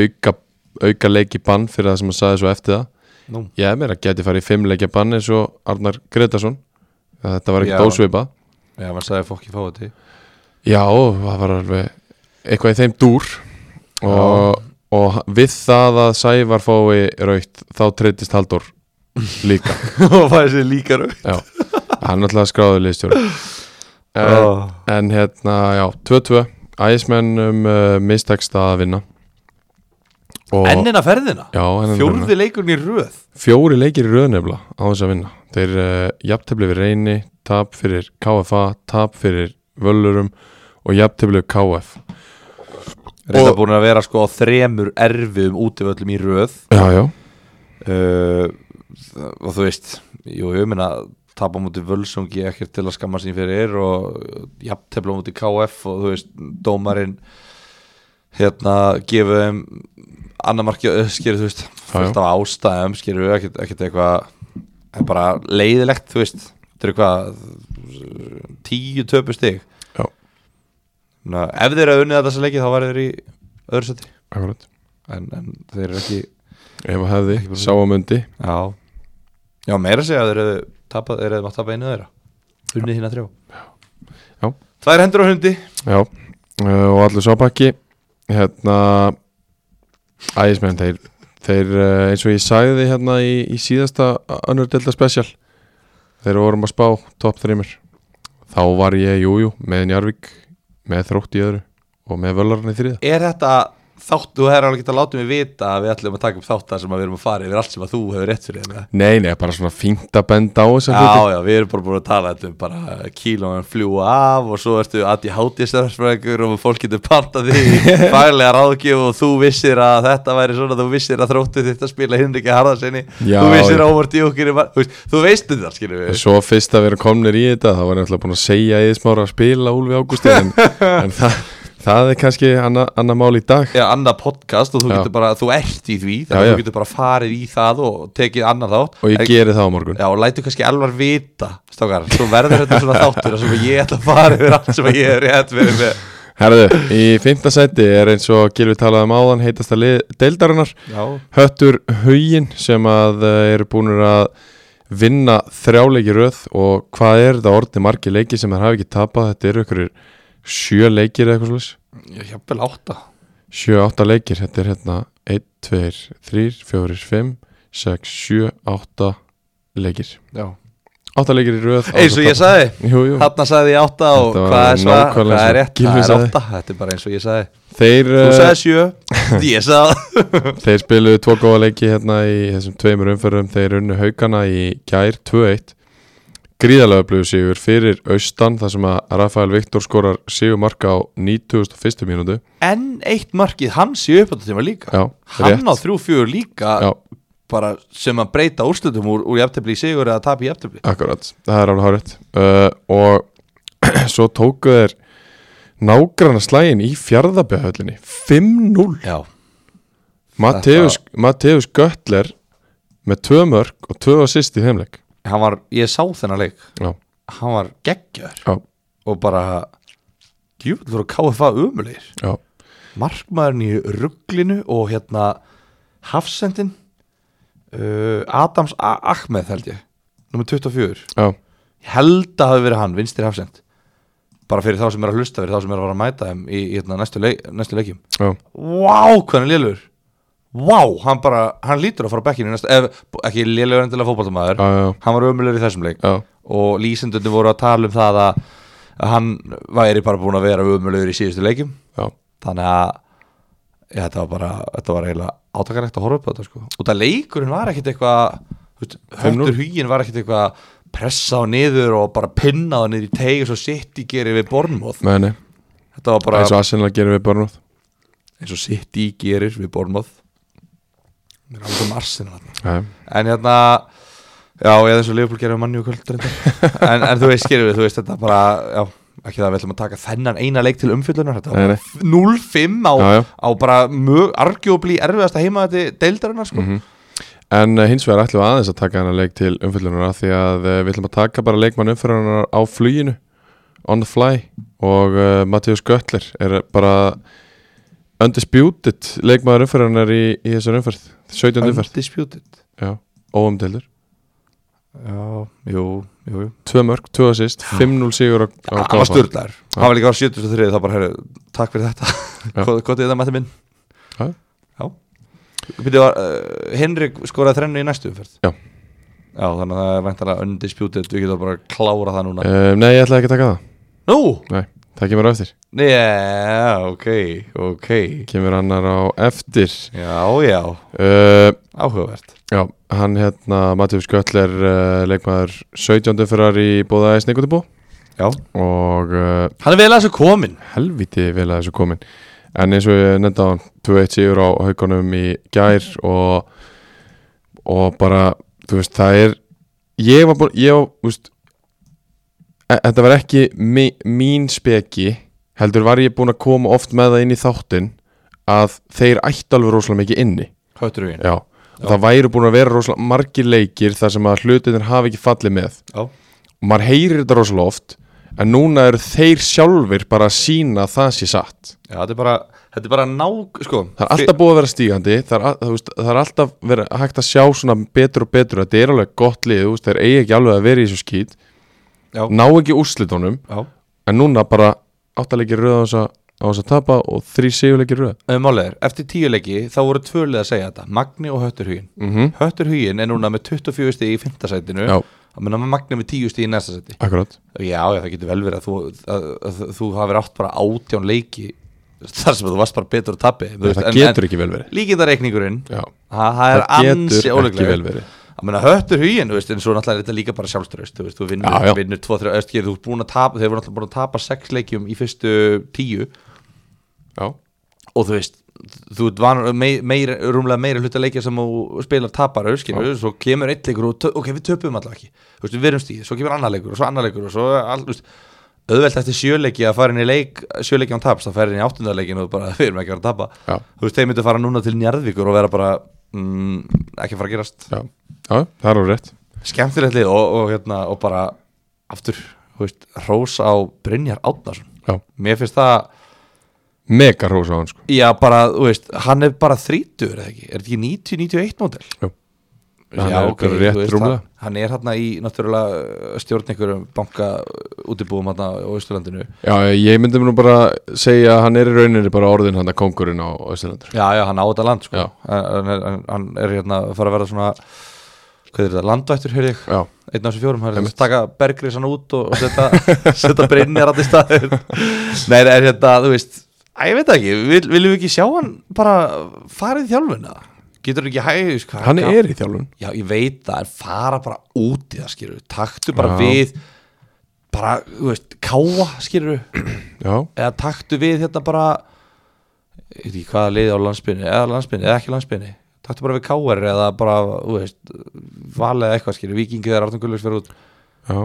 auka, auka leiki bann fyrir það sem hann sagði svo eftir það
nú
Ég er meira að geti farið í fimm leikja bann eins og Arnar Gretarsson þetta var
Já.
ekkert ósveipað
Já, hann sagði fokk í fáið til
Já, það var alveg eitthvað í þeim dúr og, og við það að Sævar fái raukt þá treytist Haldur líka
Og fæði sér líka raukt
Já, hann alltaf skráði liðstjóri en,
Ó.
en hérna, já, 2-2 Ægismennum uh, mistekst að vinna og,
Ennina ferðina
já, enn en
Fjórði leikurinn í röð
Fjóri leikir í röðnefla á þess að vinna Þeir uh, jafntefli við reyni tap fyrir KFA, tap fyrir völlurum og jafntefli við KF
Reynda búin að vera sko á þremur erfum útivöllum í röð
Já, já,
uh, og þú veist jú, ég meina tapa á múti völsungi ekkert til að skamma sín fyrir og jafntefla á múti KF og þú veist, dómarinn hérna, gefa þeim annar marki, skýrðu, eh, þú veist fullt af ástæðum, skýrðu, ekkert, ekkert eitthvað en bara leiðilegt, þú veist þetta er eitthvað tíu töpu stig
Já.
Ná, ef þeir eru unnið að þessa leiki þá væri þeir í öðru seti
akkurat
en, en þeir eru ekki
Ef að hefði,
Ekki bara-
sá að mundi
Já Já, meira að segja að þeir eru tapað, þeir eru mátt tapa einu þeirra Hunnið hérna þrjá
Já.
Tvær hendur á hundi
Já, uh, og allir sápakki Hérna Ægismenn, þeir, þeir uh, eins og ég sagði hérna í, í síðasta önnur delta special þeir vorum að spá top 3 þá var ég, jújú, jú, með Njarvík með þrótt í öðru og með völlarinn í þriða
Er þetta þátt, þú hefur alveg getað látið mig vita að við ætlum að taka upp þátt þar sem að við erum að fara yfir allt sem að þú hefur rétt fyrir þeim
Nei, nei, bara svona fínt að benda á þess að
Já, já, við erum bara búin að tala þetta um bara kílóin fljúa af og svo ertu að ég hátið sérfrækur og fólk getur panta því faglega ráðgjöf og þú vissir að þetta væri svona, þú vissir að þróttu þetta spila Hinriki Harðarsinni,
Já,
þú vissir
já.
að óvart í okkur, þú veist þetta, skilur við
Svo fyrst að vera komnir í þetta þá var ég alltaf búin að segja að ég smára að spila Úlfi Ágústi en, en það, það er kannski annað anna mál í dag
Já, annað podcast og þú
Já.
getur bara, þú ert í því
Já,
þannig
já.
að þú getur bara farið í það og tekið annað þátt
og ég
En-
geri það á morgun
Já, og lætur kannski alvar vita, stókar Svo verður þetta svona þáttur þar sem að ég ætla að fara yfir allt sem að ég er rétt verið með
Herðu, í fymta sæti er eins og Gilvi talaði um áðan heitasta lið deildarinnar
Já,
Höttur Hugin sem að eh, eru búinir að vinna þrjáleiki röð og hvað er þetta orðni margi leiki sem þær hafa ekki tapað þetta eru ykkur sjö leikir eða eitthvað slús
ég hefði láta
sjö, átta leikir, þetta er hérna 1, 2, 3, 4, 5 6, 7, 8 leikir,
Já.
átta leikir í röð
Eins og ég sagði,
Jú, jú,
þarna sagði ég átta og
Þetta var
hvað er, sva,
nákvæmlega
hvað
eins
er
og
rétt,
Gylfi
hvað er
sagði.
átta Þetta er bara eins og ég sagði
þeir
Þú
eh,
sagði sjö, ég sagði
Þeir spiluðu tvo góða leiki hérna í þessum tveimur umferðum Þeir unnu haugana í gær 2-1 Gríðalega upplöfu sigur fyrir austan þar sem að Rafael Viktor skorar sigur marka á 91. mínútu
Enn eitt markið hans í uppáttutíma líka
Já,
Hann á þrjú fjögur líka
Já,
bara sem að breyta úrslutum úr, úr jafntefli í sigur eða tap í jafntefli
akkurat, það er alveg hárétt uh, Og svo tóku þeir nágrana slægin í fjardabæðhöllinni 5-0
Já,
Mateus, Mateus Göttler með tvö mörg og tvö assist í þeimleik
hann var, ég sá þennan leik
Já,
hann var geggjör
já,
og bara djúvel voru KFA umulir
já
markmaðurinn í rugglinu og hérna hafsendin uh, Adams A Ahmed held ég nummer 24
Já,
ég held að hafi verið hann, vinstir hafsend bara fyrir þá sem er að hlusta fyrir þá sem er að fara að mæta þeim í, í hérna, næstu, leik, næstu leikjum
já
Vá, hvað hann er lélur Vá, hann bara, hann lítur að fara á bekkinu í næsta, ef, ekki lélur endilega fótballtamaður
Já, já.
hann var ömulegur í þessum leik
Já.
og lýsendunni voru að tala um það að að hann væri bara búin að vera ömulegur í síðustu leikum
Já,
þannig að Já, þetta var bara, þetta var eiginlega átakarlegt að horfa upp á þetta sko og það leikurinn var ekkit eitthvað þú veist,
5-0.
höfndur hugin var ekkit eitthvað pressa á niður og bara pinna á niður í teig og svo sitt í gerir við Bornmóð
Nei, nei,
þetta var bara
eins og Arsenal gerir við Bornóð
eins og sitt í gerir við Bornmóð það er alveg um Arsenal þarna.
Já,
en hérna já, eða eins og Leopold gerir við manni og kvöld reyndar. en, en þú veist, gerir við, þú veist, þetta bara já, ekki það að við ætlum að taka þennan eina leik til umfyllunar þetta
Nei,
var
nei.
bara 0-5 á,
já, já.
á bara mjög argjóbli erfiðasta heima þetta deildarinnar sko.
Mhm, En eh, hins vegar ætlum við aðeins að taka hennar leik til umfyllunar af því að eh, við ætlum að taka bara leikmann umfyllunar á fluginu on the fly og uh, Mattias Göttler er bara undisputed leikmaður umfyllunar í, í þessar umferð 17. umferð,
Undisputed
já, óumdeildur
Já, jú, jú, jú
Tvö mörg, tvö assist, 5-0 sigur á, á
Það Ah. var
KFA.
styrlaður Það var líka var 73 þá bara, herru, takk fyrir þetta
Já.
Hvað hvað er það með þetta minn?
Já.
Já Býttu, var, uh, Henrik skoraði þrennu í næstu umferð
Já.
Já, þannig að það er væntanlega undisputed Við getum bara að klára það núna
Eh, Nei, ég ætlaði ekki að taka það
Nú,
Nei, það kemur á eftir
já, ok, ok
Kemur annar á eftir
Já, já,
uh,
áhugavert
Já, hann hérna Mattias Göttler uh, leikmaður 17. umferðar í bóða eða sneikundibó
Já
og uh,
Hann er vel að þessu komin
helviti vel að þessu komin en eins og ég nefndi á hann 2-1 sigur á haugunum í gær og, og bara þú veist það er ég var búin, ég var, þú veist e- þetta var ekki mi, mín speki heldur var ég búin að koma oft með það inn í þáttin að þeir ætti alveg rosalega mikið inni
Höttur við
já, og það væru búin að vera rosalega margir leikir þar sem að hlutinir hafi ekki fallið með
Já,
og maður heyrir þetta rosalega oft en núna eru þeir sjálfur bara að sína það sé satt
já þetta er bara, þetta er bara nák, sko
það er alltaf búið að vera stígandi það er, al- þú veist, það er alltaf vera, hægt að sjá svona betur og betur þetta er alveg gott lið, þú veist, þeir eigi ekki alveg að vera í þessu skýt
Já.
ná ekki úrslitunum
Já
en núna bara áttalegir röð á þess að á þess að tapa og þrý sigurleikir röð
Um, Málega, eftir tíu leiki þá voru tvölið að segja þetta Magni og Hötturhugin mm -hmm. Hötturhugin er núna með 24 stig í fimmtasætinu
Já.
að menna með Magni með 10 stig í næsta sæti
akkurat,
Já, já, það getur vel verið að þú, að, að, að, þú hafi átt bara átján leiki þar sem þú varst bara betur að tappi
það getur ekki vel verið
Líkindareikningurinn
Já.
Það það er
Það getur
ansi
ekki
óleglega
vel verið.
Að menna höttur hugin, þú veist, en svo náttúrulega er þetta líka bara sjálfströst Þú veist, þú vinnur,
Já, já.
vinnur tvo, þrjá, þú veist, þú ert búin að tapa Þeir voru náttúrulega búin að tapa sex leikjum í fyrstu tíu
já,
og þú veist þú ert vanur meir, meir, rúmlega meira hluta leikja sem þú spilar tapar auðskilu, svo kemur einn leikur og tö- ok, við töpum allavega ekki þú veist, við verum stíð, svo kemur annar leikur og svo annar leikur og svo all, þú veist, auðvelt eftir sjöleiki að fara inn í leik, sjöleiki án taps, það færi inn í áttundarleikin og bara við erum ekki að vera að tapa
Já.
þú veist, þeir myndu fara núna til njarðvíkur og vera bara mm, ekki að fara að gerast
já, já, það er alveg rétt
skemmtilegt lið og, og, hérna, og bara aftur, þú veist, rós á Brynjar Átnarsson
já,
mér finnst það
mega rósa á hann sko
Já, bara, þú veist, hann er bara 30, eða ekki? Er þetta ekki 90-91 mótel?
Jú. Hann er bara rétt rúmlega.
hann, hann er hann í, náttúrulega, stjórn einhverjum banka útibúum hann á Íslandinu
já, ég myndi nú bara segja að hann er í rauninni bara orðin hann að kongurinn á Östurlandur
Já, já, hann á þetta land, sko
Já.
hann er, hann- hann er hérna að fara að vera svona hvað er þetta, landvættur, heyrði ég
já,
einn af þessu fjórum, hann er að taka bergrisann út og setja, setja breynir allir staðir Nei, það er hérna, þú veist Æ, ég veit það ekki, vil, viljum við ekki sjá hann bara farið í þjálfuna? Getur ekki hæg, sko,
hann er í þjálfun
Já, ég veit það, en fara bara út í það, skilur Taktu bara
Já.
við bara, þú veist, káa, skilur
já,
eða taktu við hérna bara ég veit ekki hvaða liði á landsbyrni eða landsbyrni, eða ekki landsbyrni taktu bara við káar eða bara, þú veist valið eða eitthvað, skilur, vikingið er Arnum Gullvegs verið út
Já,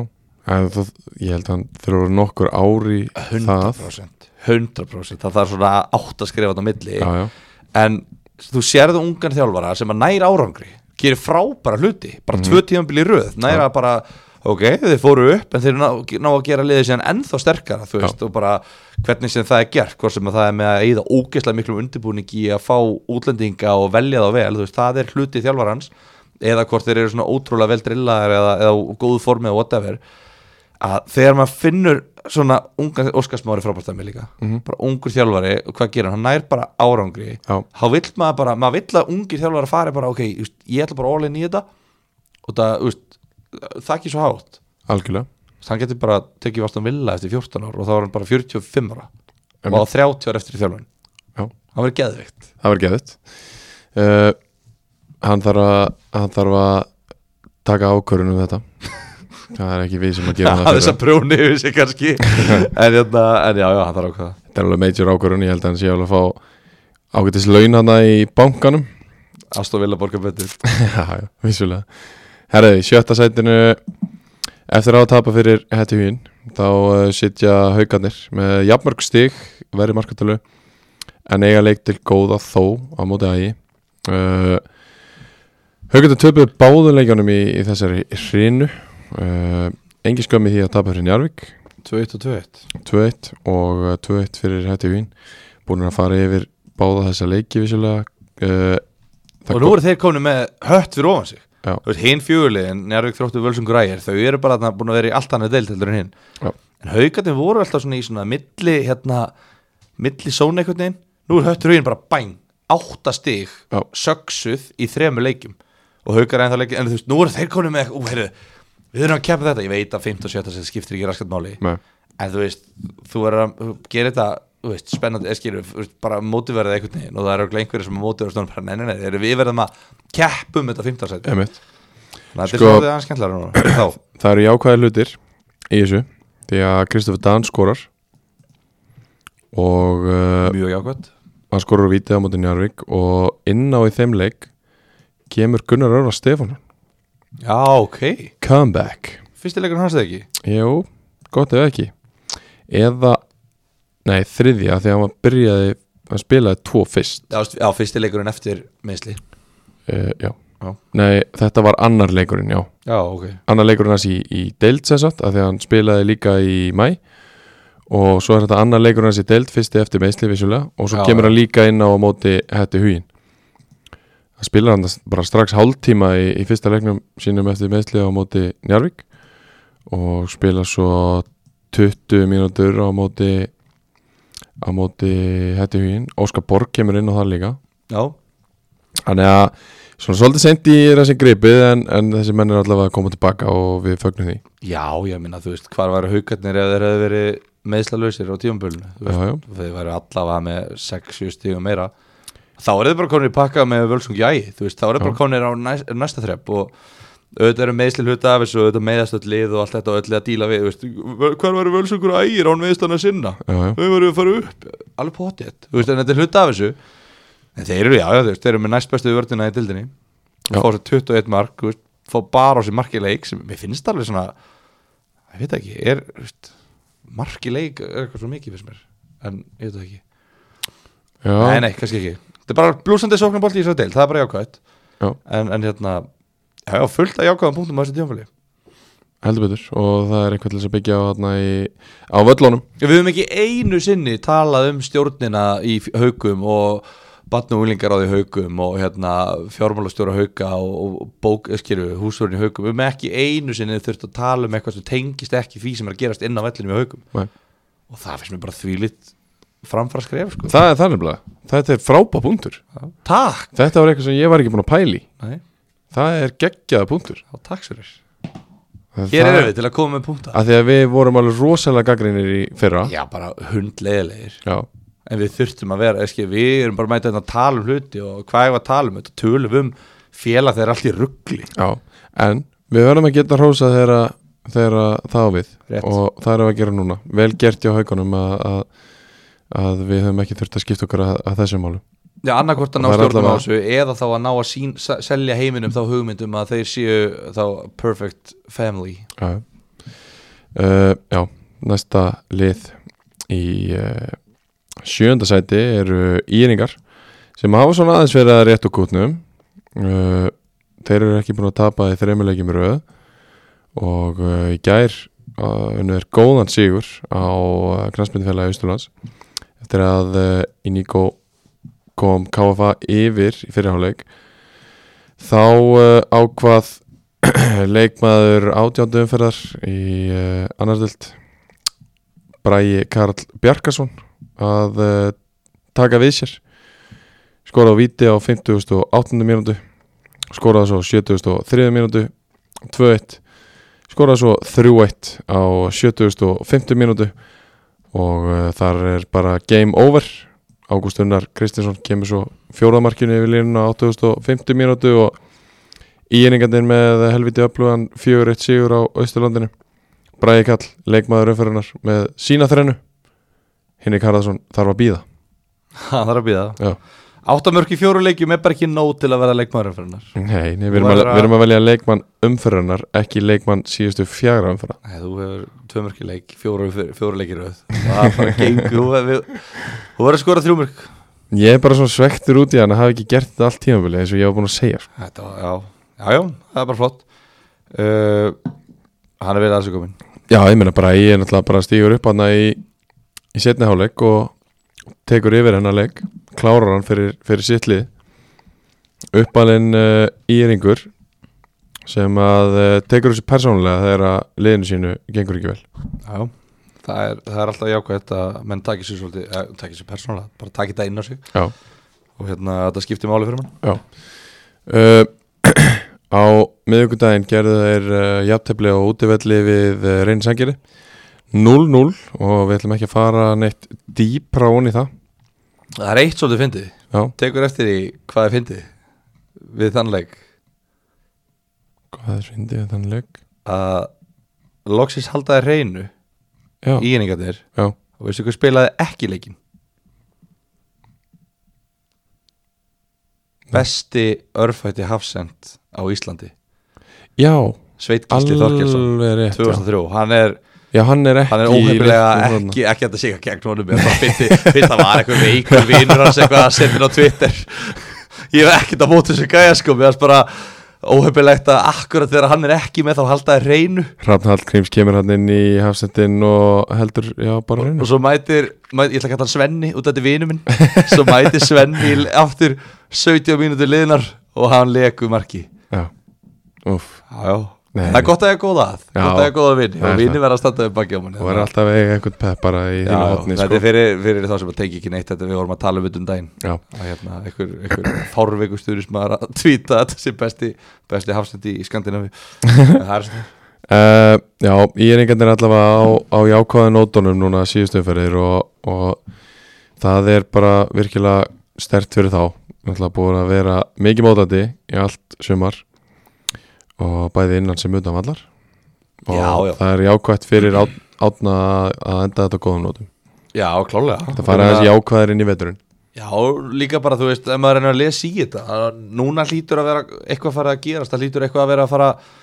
en það, ég held að hann þurfa nokkur ári það
100% 100%, það þarf svona átt að skrifa þetta á milli
Já, já,
en þú sérðu ungan þjálfara sem að næra árangri gerir frábæra hluti, bara tvö
Mhm.
tíðanbili röð næra bara, ok, þeir fóru upp en þeir ná, ná að gera liðið síðan ennþá sterkara þú veist, og bara hvernig sem það er gert hvort sem að það er með að eyða ógeðslega miklum undirbúningi í að fá útlendinga og velja þá vel, þú veist, það er hluti þjálfarans eða hvort þeir eru svona ótrúlega vel drillaðar eða, eða á góðu formi eða whatever að þegar maður finnur svona ungan Óskarsmári frábærtæmi líka
Mhm.
bara ungur þjálfari og hvað gerir hann hann nær bara árangri
Já.
þá vill maður bara, maður vill að ungir þjálfari fari bara ok, just, ég ætla bara all-in í þetta og það, just, það er ekki svo hátt
algjörlega
Þess, hann getur bara tekið um vastan vilja eftir 14 ár og þá er hann bara 45 ára
Einmitt.
og á 30 ára eftir þjálfun
Já,
Það verður geðvikt
það verður geðut uh, hann, þarf að, hann þarf að taka ákvörun um þetta það er ekki við sem að gera það
Það
fyrir
þess að
hann.
prjóni yfir sig kannski en, hérna, en já, já, það er ákveða
þetta er alveg major ákvörun, ég held að hann sé alveg að fá ágætis laun hana í bankanum
Aston Villa borga betur
já, já, vissulega herriði, sjötta sætinu eftir á að tapa fyrir hættu hugin þá uh, sitja haugarnir með jafnmörg stig, verri markatölu en eiga leik til góða þó á móti ægi uh, haugarnir töpuðu báðum leikjónum í, í þessari hrinu uh, engi skömmi því að tapa fyrir Njarvík
2-1 og 2-1
2-1 og uh, 2-1 fyrir hættu hugin búin að fara yfir báða þessa leiki vissulega uh,
Og nú eru þeir komin með hött fyrir ofan sig
Já.
Þú veist, hinn fjögulegin, Njárvík þróttu völsungur ægir Þau eru bara þarna búin að vera í allt annað deilt heldur en hinn
Já.
En haugarnir voru alltaf svona í svona milli, hérna, milli sóna einhvern veginn Nú er höttur huginn bara bæn, átta stig
Já.
söksuð í þremur leikjum Og haugar ennþá leikjum, en þú veist, nú eru þeir komin með Ú, heyrðu, við erum að keppa þetta Ég veit að 15 og 17 sem skiptir ekki raskat máli
Nei.
En þú veist, þú verður að gera þetta þú veist, spennandi, eða skilur, þú veist, bara mótiverðið einhvern veginn og það eru örugglega einhverjir sem mótiverðið stóðum bara, nei, nei, nei, þeir- við verðum að keppum þetta 15 sæti,
Emitt
þannig að þetta er
Sko-
svolítið aðeins skemmtlar núna, þá,
það eru jákvæði hlutir í þessu því að Kristoffer Dan skorar og uh,
mjög jákvæmt
hann skorar úr vítið á móti Njarvík og inn á í þeim leik kemur Gunnar Örvar Stefán
Já, ok,
comeback
fyrsti leikur hans eða ekki
jú, gott ef ekki eða, nei þriðja því að hann byrjaði, hann spilaði tvo fyrst
Já, veist, já fyrsti leikurinn eftir meðsli
uh, já.
Já.
nei, þetta var annar leikurinn, já
Já, ok,
annar leikurinn hans í, í deild sem sagt, af því að hann spilaði líka í mæ og svo er þetta annar leikurinn hans í deild fyrsti eftir meðsli vissulega og svo
Já,
kemur
já.
hann líka inn á á móti hætti hugin það spilar hann þess- bara strax hálftíma í, í fyrsta leiknum sínum eftir meðsli á móti Njarvík og spila svo 20 mínútur á móti á móti hætti hugin Óskar Borg kemur inn á það líka
já,
Þannig að svona svolítið sendi í þessi gripið en, en þessi menn er allavega að koma tilbaka og við fögnum því.
já, ég minna, þú veist, hvar væru haugarnir ef þeir hefðu verið meðslalausir á tíumbölinu, þú
Já,
veist,
já.
þeir væru allavega með 6-7 stígum meira þá er þeir bara konir í pakka með völsung jægi þú veist, þá er þeir bara konir á næst, næsta þrepp og auðvitað eru meðsli hluta af þessu auðvitað meðast öll lið og allt þetta og öll lið að díla við þú veist, hver var völsungur ægir án meðstana sinna
Já, já.
þau varum að fara upp, alveg potið þú veist, en þetta er hluta af þessu en þeir eru, já, já, þú veist, þeir eru með næst bestu vördina í dildinni
Já.
og fá sér 21 mark þú veist, fá bara á sér markileik sem mér finnst alveg svona, ég veit ekki er, þú veist, markileik er eitthvað svo mikið fyrst mér en ég veit það ekki
Já,
Nei, nei, kannski ekki Þetta er bara blúsandi sóknarbolt í þessari deil, það er bara jákvæmt
Já.
en, en hérna, já, já, fullt að jákvæðan punktum á þessu tímanfæli
heldur betur og það er eitthvað til þess að byggja á, þarna í, á völlunum.
Við höfum ekki einu sinni talað um stjórnina í f- haukum og batn og unglingar á því haukum og hérna fjármálastjóra hauka og, og bók, skilu, húsvörðin í haukum Við höfum ekki einu sinni þurft að tala um eitthvað sem tengist ekki því sem er að gerast inn á vellinum í haukum
Nei.
og það finnst mér bara þvílitt framfara skref, sko
Það er það er nefnilega. Þetta er frábá punktur.
Já. Takk!
Þetta var eitthvað sem ég var ekki búin að pæli.
Nei,
Það er geggjaða punktur.
þá takk sér
Það-
Hér
það-
erum við til að koma með punkta
Af því að við vorum alveg rosalega gaggrinir í fyrra.
Já, bara hundleiðilegir
Já.
en við þurftum að vera, eski, við erum bara mætið að tala um hluti og hvað ég var að tala um þetta tölum við um félag þeir allt í ruggli
Já. En við verðum að geta hrósa þegar, að- þegar að það á við.
Rétt.
og það erum við að gera núna vel gert hjá haugunum að, að, að við höfum ekki þurft að skipta okkur að, að þessum málum
Já, annarkvort að ná
Og það er
stjórnum á
allavega-
þessu eða þá að ná að sín, se- selja heiminum þá hugmyndum að þeir séu þá perfect family
já, uh, já næsta lið í uh, sjönda sæti eru Íringar sem hafa svona aðeins verið að rétt og kútnum uh, þeir eru ekki búin að tapa í þreimulegjum röð og uh, í gær uh, unnu er góðan sigur á uh, knastmyndfélagi Austurlands eftir að uh, Inigo kom KFA yfir í fyrirháleik þá uh, ákvað leikmaður átjándu umferðar í uh, annardöld Bræi Karl Bjarkason að uh, taka við sér skora á viti á 50.8. mínútu skoraði svo á 70.3. mínútu 2-1 skoraði svo 3-1 á eh, 70.5. mínútu og uh, þar er bara game over Ágúst Unnar Kristinsson kemur svo fjóraðmarkinu yfir línuna á 8050 mínútu og íeiningandinn með helviti öflugan 4-1 sigur á Austurlandinu Bræði Kall, leikmaður umferðunar með sína þrennu Henrik Harðarsson þarf að býða
Það þarf að býða
Já.
Áttamörk í fjóru leikjum er bara ekki nóg til að vera leikmaður fyrir hennar
Nei, nei
Þú
við, erum að,
verður að-
við erum að velja leikmann umferðunar ekki leikmann síðustu fjagra umferða
Nei, þú hefur tvö mörk í leik, fjóru, fjóru leikir auð Það er bara gengur Þú hefur- þú verður að skora þrjú mörk
Ég er bara svona svektur út í hann að hafa ekki gert þetta allt tímabili eins og ég var búin að segja sko.
Þetta var, já, já, já, það er bara flott uh, Hann er verið aðeins komin
Já, ég meina bara, ég er náttúrulega bara stígur upp hann í, í setni hálfleik og tekur yfir hennar leik klárar hann fyrir, fyrir sittlið uppalinn uh, íringur sem að uh, tekur þessu persónulega þegar að liðinu sínu gengur ekki vel
Já, já Það er, það er alltaf jákvæmt að menn takir sér svolítið, eh, takir sér persónulega, bara takir það inn á sig
Já,
og hérna þetta skiptir máli fyrir mann.
uh, Á miðvikudaginn gerðu þeir uh, jafntefli á útivelli við uh, reynsangeri 0-0 og við ætlum ekki að fara neitt dýpra ón í það
Það er eitt svolítið fyndið,
Já,
tekur eftir í hvað er fyndið við þannleik
hvað er svindið við þann leik?
að loksins haldaði reynu
Já,
íningarnir
já
og veistu hvað spilaði ekki leikin Besti örfætti hafsend á Íslandi
Já,
Sveit Gísli Þorkelsson
alveg rétt já.
2003, hann er,
já, hann er ekki
hann er óhefnilega ekki, ekki að þetta sé ekki að gegn honum ég bara fyndi, fyrst það var eitthvað veikur vinur hans eitthvað að senda inn á Twitter ég hef ekkert að móta þessu gæja sko mér finnst bara óhefnilegt að akkurat þegar hann er ekki með þá halda þér reynu
Hrafnhald Krims kemur hann inn í hafsendin og heldur, já, bara reyna
og svo mætir, mætir ég ætla að kalla hann Svenni út af þetta er vinu minn, svo mætir Svenni í- aftur 70 mínútur liðnar og hann leku marki
Já, úff
já, já.
Nei.
það er gott að ég er góða að
Já.
gott að ég er góða að vinni
Það er
og vinni
það.
verða að standa upp baki á manni
Og er alltaf eiga eitthvað peppara í
Já,
þínu hotni
þetta
sko.
er fyrir, fyrir þá sem að teki ekki neitt þetta við vorum að tala um þetta um daginn
Já,
að hérna, einhver, einhver fárveiku stuðnismar að tvíta þetta sem besti, besti hafsend í Skandinavi það er svona
Uh, já, ég er einhvern veginn allavega á, á jákvæða nótunum núna síðustu umferðir og, og það er bara virkilega stert fyrir þá Náttúrulega búin að vera mikið mótandi í allt sumar og bæði innan sem utan vallar og
Já, já.
það er jákvætt fyrir át, átna að enda þetta á góðum nótum
Já, klálega
Það fara aðeins jákvæðir inn í veturinn
Já, líka bara, þú veist, ef maður reynir að lesa í þetta að núna hlýtur að vera eitthvað farið að gerast, það hlýtur eitthvað að vera að fara að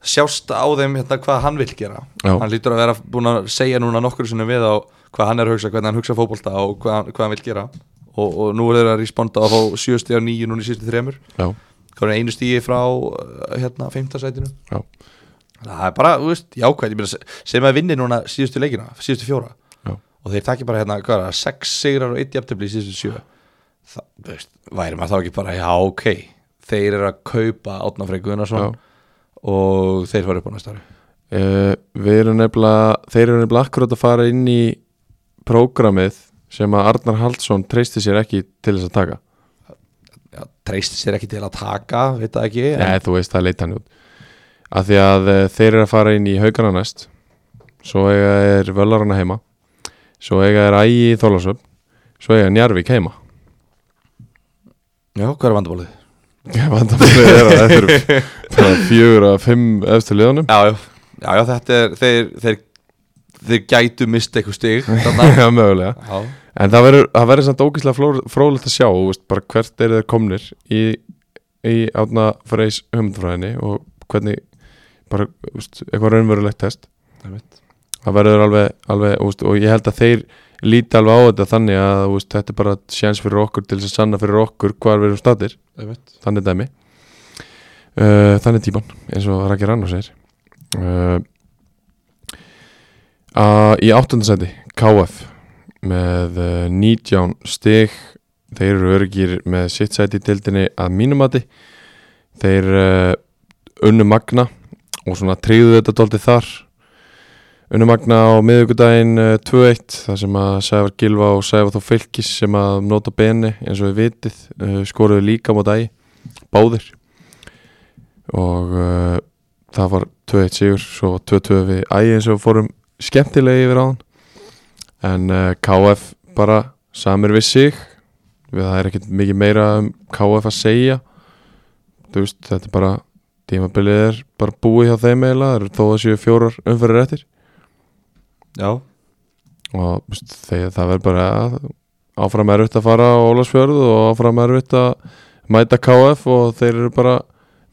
sjást á þeim hérna hvað hann vil gera
Já.
hann hlýtur að vera búin að segja núna nokkur sinni við á hvað hann er að hugsa, hvernig hann hugsa fótbolta og hvað, hann- hvað hann vil gera og, og nú er þeir að responda að fá sjösti á nýju núna í sístu þremur,
Já,
hvað er einu stíi frá uh, hérna, fimmtasætinu
já,
það er bara, þú veist, jákvæð ég meina, se- sem að vinni núna síðustu leikina, síðustu fjóra
já
og þeir takki bara hérna, hvað er það, sex sigrar og eitt jafntefli í síðustu sjö það, þú veist, væri maður þá ekki bara, já, ok þeir eru að kaupa Átnafrey Gunnarsson
Já.
og þeir fara upp á næsta ári
Uh, við erum nefnilega, þeir eru nefnilega akkurat að fara inn í prógramið sem að Arnar Haldsson treysti sér ekki til þess að taka
já, treysti sér ekki til að taka, veit það ekki en,
Nei, þú veist, það leita hann út af því að uh, þeir eru að fara inn í haugana næst svo eiga er völarana heima svo eiga er ægi í Þólasöp svo eiga Njarvík heima
já, hvað er vandabólið?
Vandamálið er að þetta eru bara fjögur að fimm efstu liðanum
já, já, já, já, þetta er þeir, þeir, þeir gætu mist eitthvað stig þarna.
Já, mögulega
já,
En það verður, það verður samt ógíslega fló- fróðlegt að sjá þú veist, bara hvert eru þeir komnir í, í átna freys höfndfræðinni og hvernig bara, þú veist, eitthvað raunverulegt test
það er mitt
það verður alveg, alveg úst, og ég held að þeir líti alveg á þetta þannig að úst, þetta er bara sjans fyrir okkur til þess að sanna fyrir okkur hvar við erum statir
það er mitt
þannig dæmi uh, þannig típan, eins og Raki Rannar segir uh, að, í áttundasæti KF með uh, 19 stig þeir eru örgir með sitt sæti í dildinni að mínumati þeir uh, unnu magna og svona tryggðu þetta dólti þar unnu magna á miðvikudaginn uh, 2-1 þar sem að Sævar Gilva og Sævar Þó Fylkis sem að nota beni eins og við vitið uh, skoruðu líka mát ægi báðir og uh, það var 2-1 sigur svo var 2-2 við ægi eins og við fórum skemmtilegi yfir á hann en uh, KF eh, bara samir við sig við það er ekkert mikið meira um KF að segja þú veist, þetta er bara tímabilið er bara búið hjá þeim eiginlega, það eru þó að séu fjórar umferðir eftir
Já,
og þú veist, þegar það verður bara áfram erfitt að fara á Ólafsfjörð og áfram erfitt að mæta KF og þeir eru bara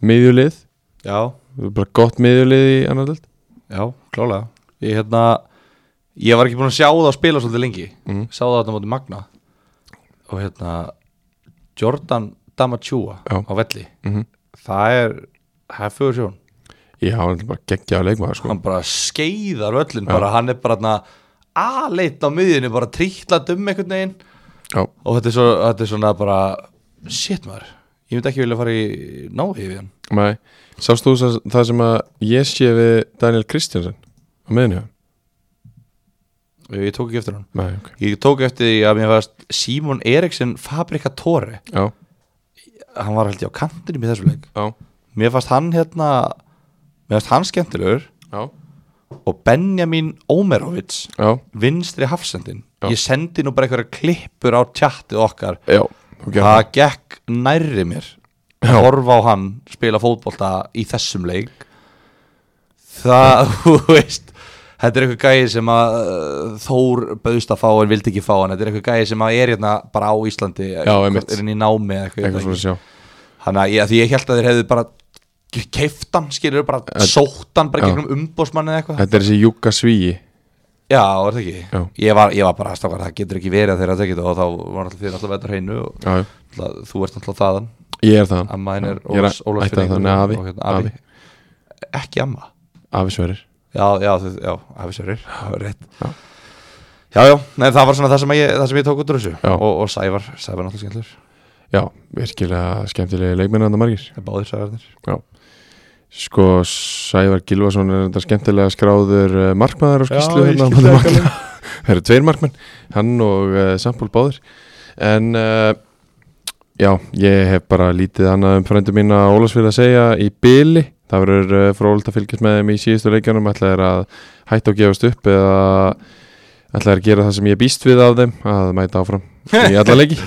miðjulið,
já,
Þeir eru bara gott miðjulið í annar delt
já, klálega Ég hérna, ég var ekki búin að sjá það að spila svolítið lengi
Mm.
Sá það þarna móti Magna Og hérna, Jordan Damachua
Já.
á velli
Mhm.
Það er, það er fyrir sjón
Já, hann er bara geggjaður leikmaður sko.
Hann bara skeiðar öllin bara, Hann er bara hérna aðleitt á miðinu Bara trítlat um einhvern veginn
Já,
Og þetta er, svo, þetta er svona bara Shit maður, ég myndi ekki vilja fara í náði við hann
mæ Sástu þú það- það sem að ég sé við Daniel Kristjánsson á miðjunni?
Ég tók ekki eftir hann
Nei, ok
Ég tók eftir því að mér fannst Simon Eriksson Fabrika Tóri
Já,
Hann var held ég á kantinum í þessu leik
já,
Mér fannst hann hérna Mér fannst hann skemmtilegur
já,
Og Benjamin Omerovits
já,
Vinstri hafsendin
Já.
Ég sendi nú bara einhverja klippur á tjattið okkar
já þú gerðir
Það gekk nærri mér
Já.
að Horfa á hann Spila fótbolta í þessum leik Það, þú veist Þetta er eitthvað gæði sem að uh, Þór bauðst að fá en vildi ekki fá hann Þetta er eitthvað gæði sem að er hérna bara á Íslandi Já,
einmitt.
Er hann í námi eða
það
eitthvað,
Eitthvað svona sjá
Þannig að ég, því ég held að þeir hefðu bara keiftan, skilur bara
Þetta-
sóttan bara
Já.
gegnum umbósmann eða eitthvað
Þetta er þessi Júka Svíi
Já, var það ekki?
Já.
Ég var, ég var bara aðstakar, það getur ekki verið að þeirra að tekja þetta og þá var alltaf þér alltaf þetta hreinu og
Já, já.
alltaf, þú ert alltaf þaðan
ég er það
Amma henn er
Ég er að- ætti að
Ólafsfjörðingur
þannig afi,
og hérna,
afi,
afi. Ekki amma
afi sverir
Já, já, þið, já, afi sérir Rétt Já, já, nei, það var svona það sem ég, það sem ég tók út úr þessu
Já.
og, og Sævar, Sævar er alltaf skemmtlur
Já, virkilega skemmtilegi leikmenn andan margir
Báðir Sævarnir
Sko, Sævar Gilvason er þetta skemmtilega skráður uh, markmaður á skýslu
Já, ég
hérna á móti
skil það
Magna. Það eru tveir markmenn, hann og uh, Sampól Báður En uh, já, ég hef bara lítið annað um frændu mína Ólafsfjörð að segja í byli Það verður uh, frólægt að fylgjast með þeim í síðustu leikjanum ætla er að hætta og gefast upp eða ætla er að gera það sem ég býst við af þeim að mæta áfram í alla leiki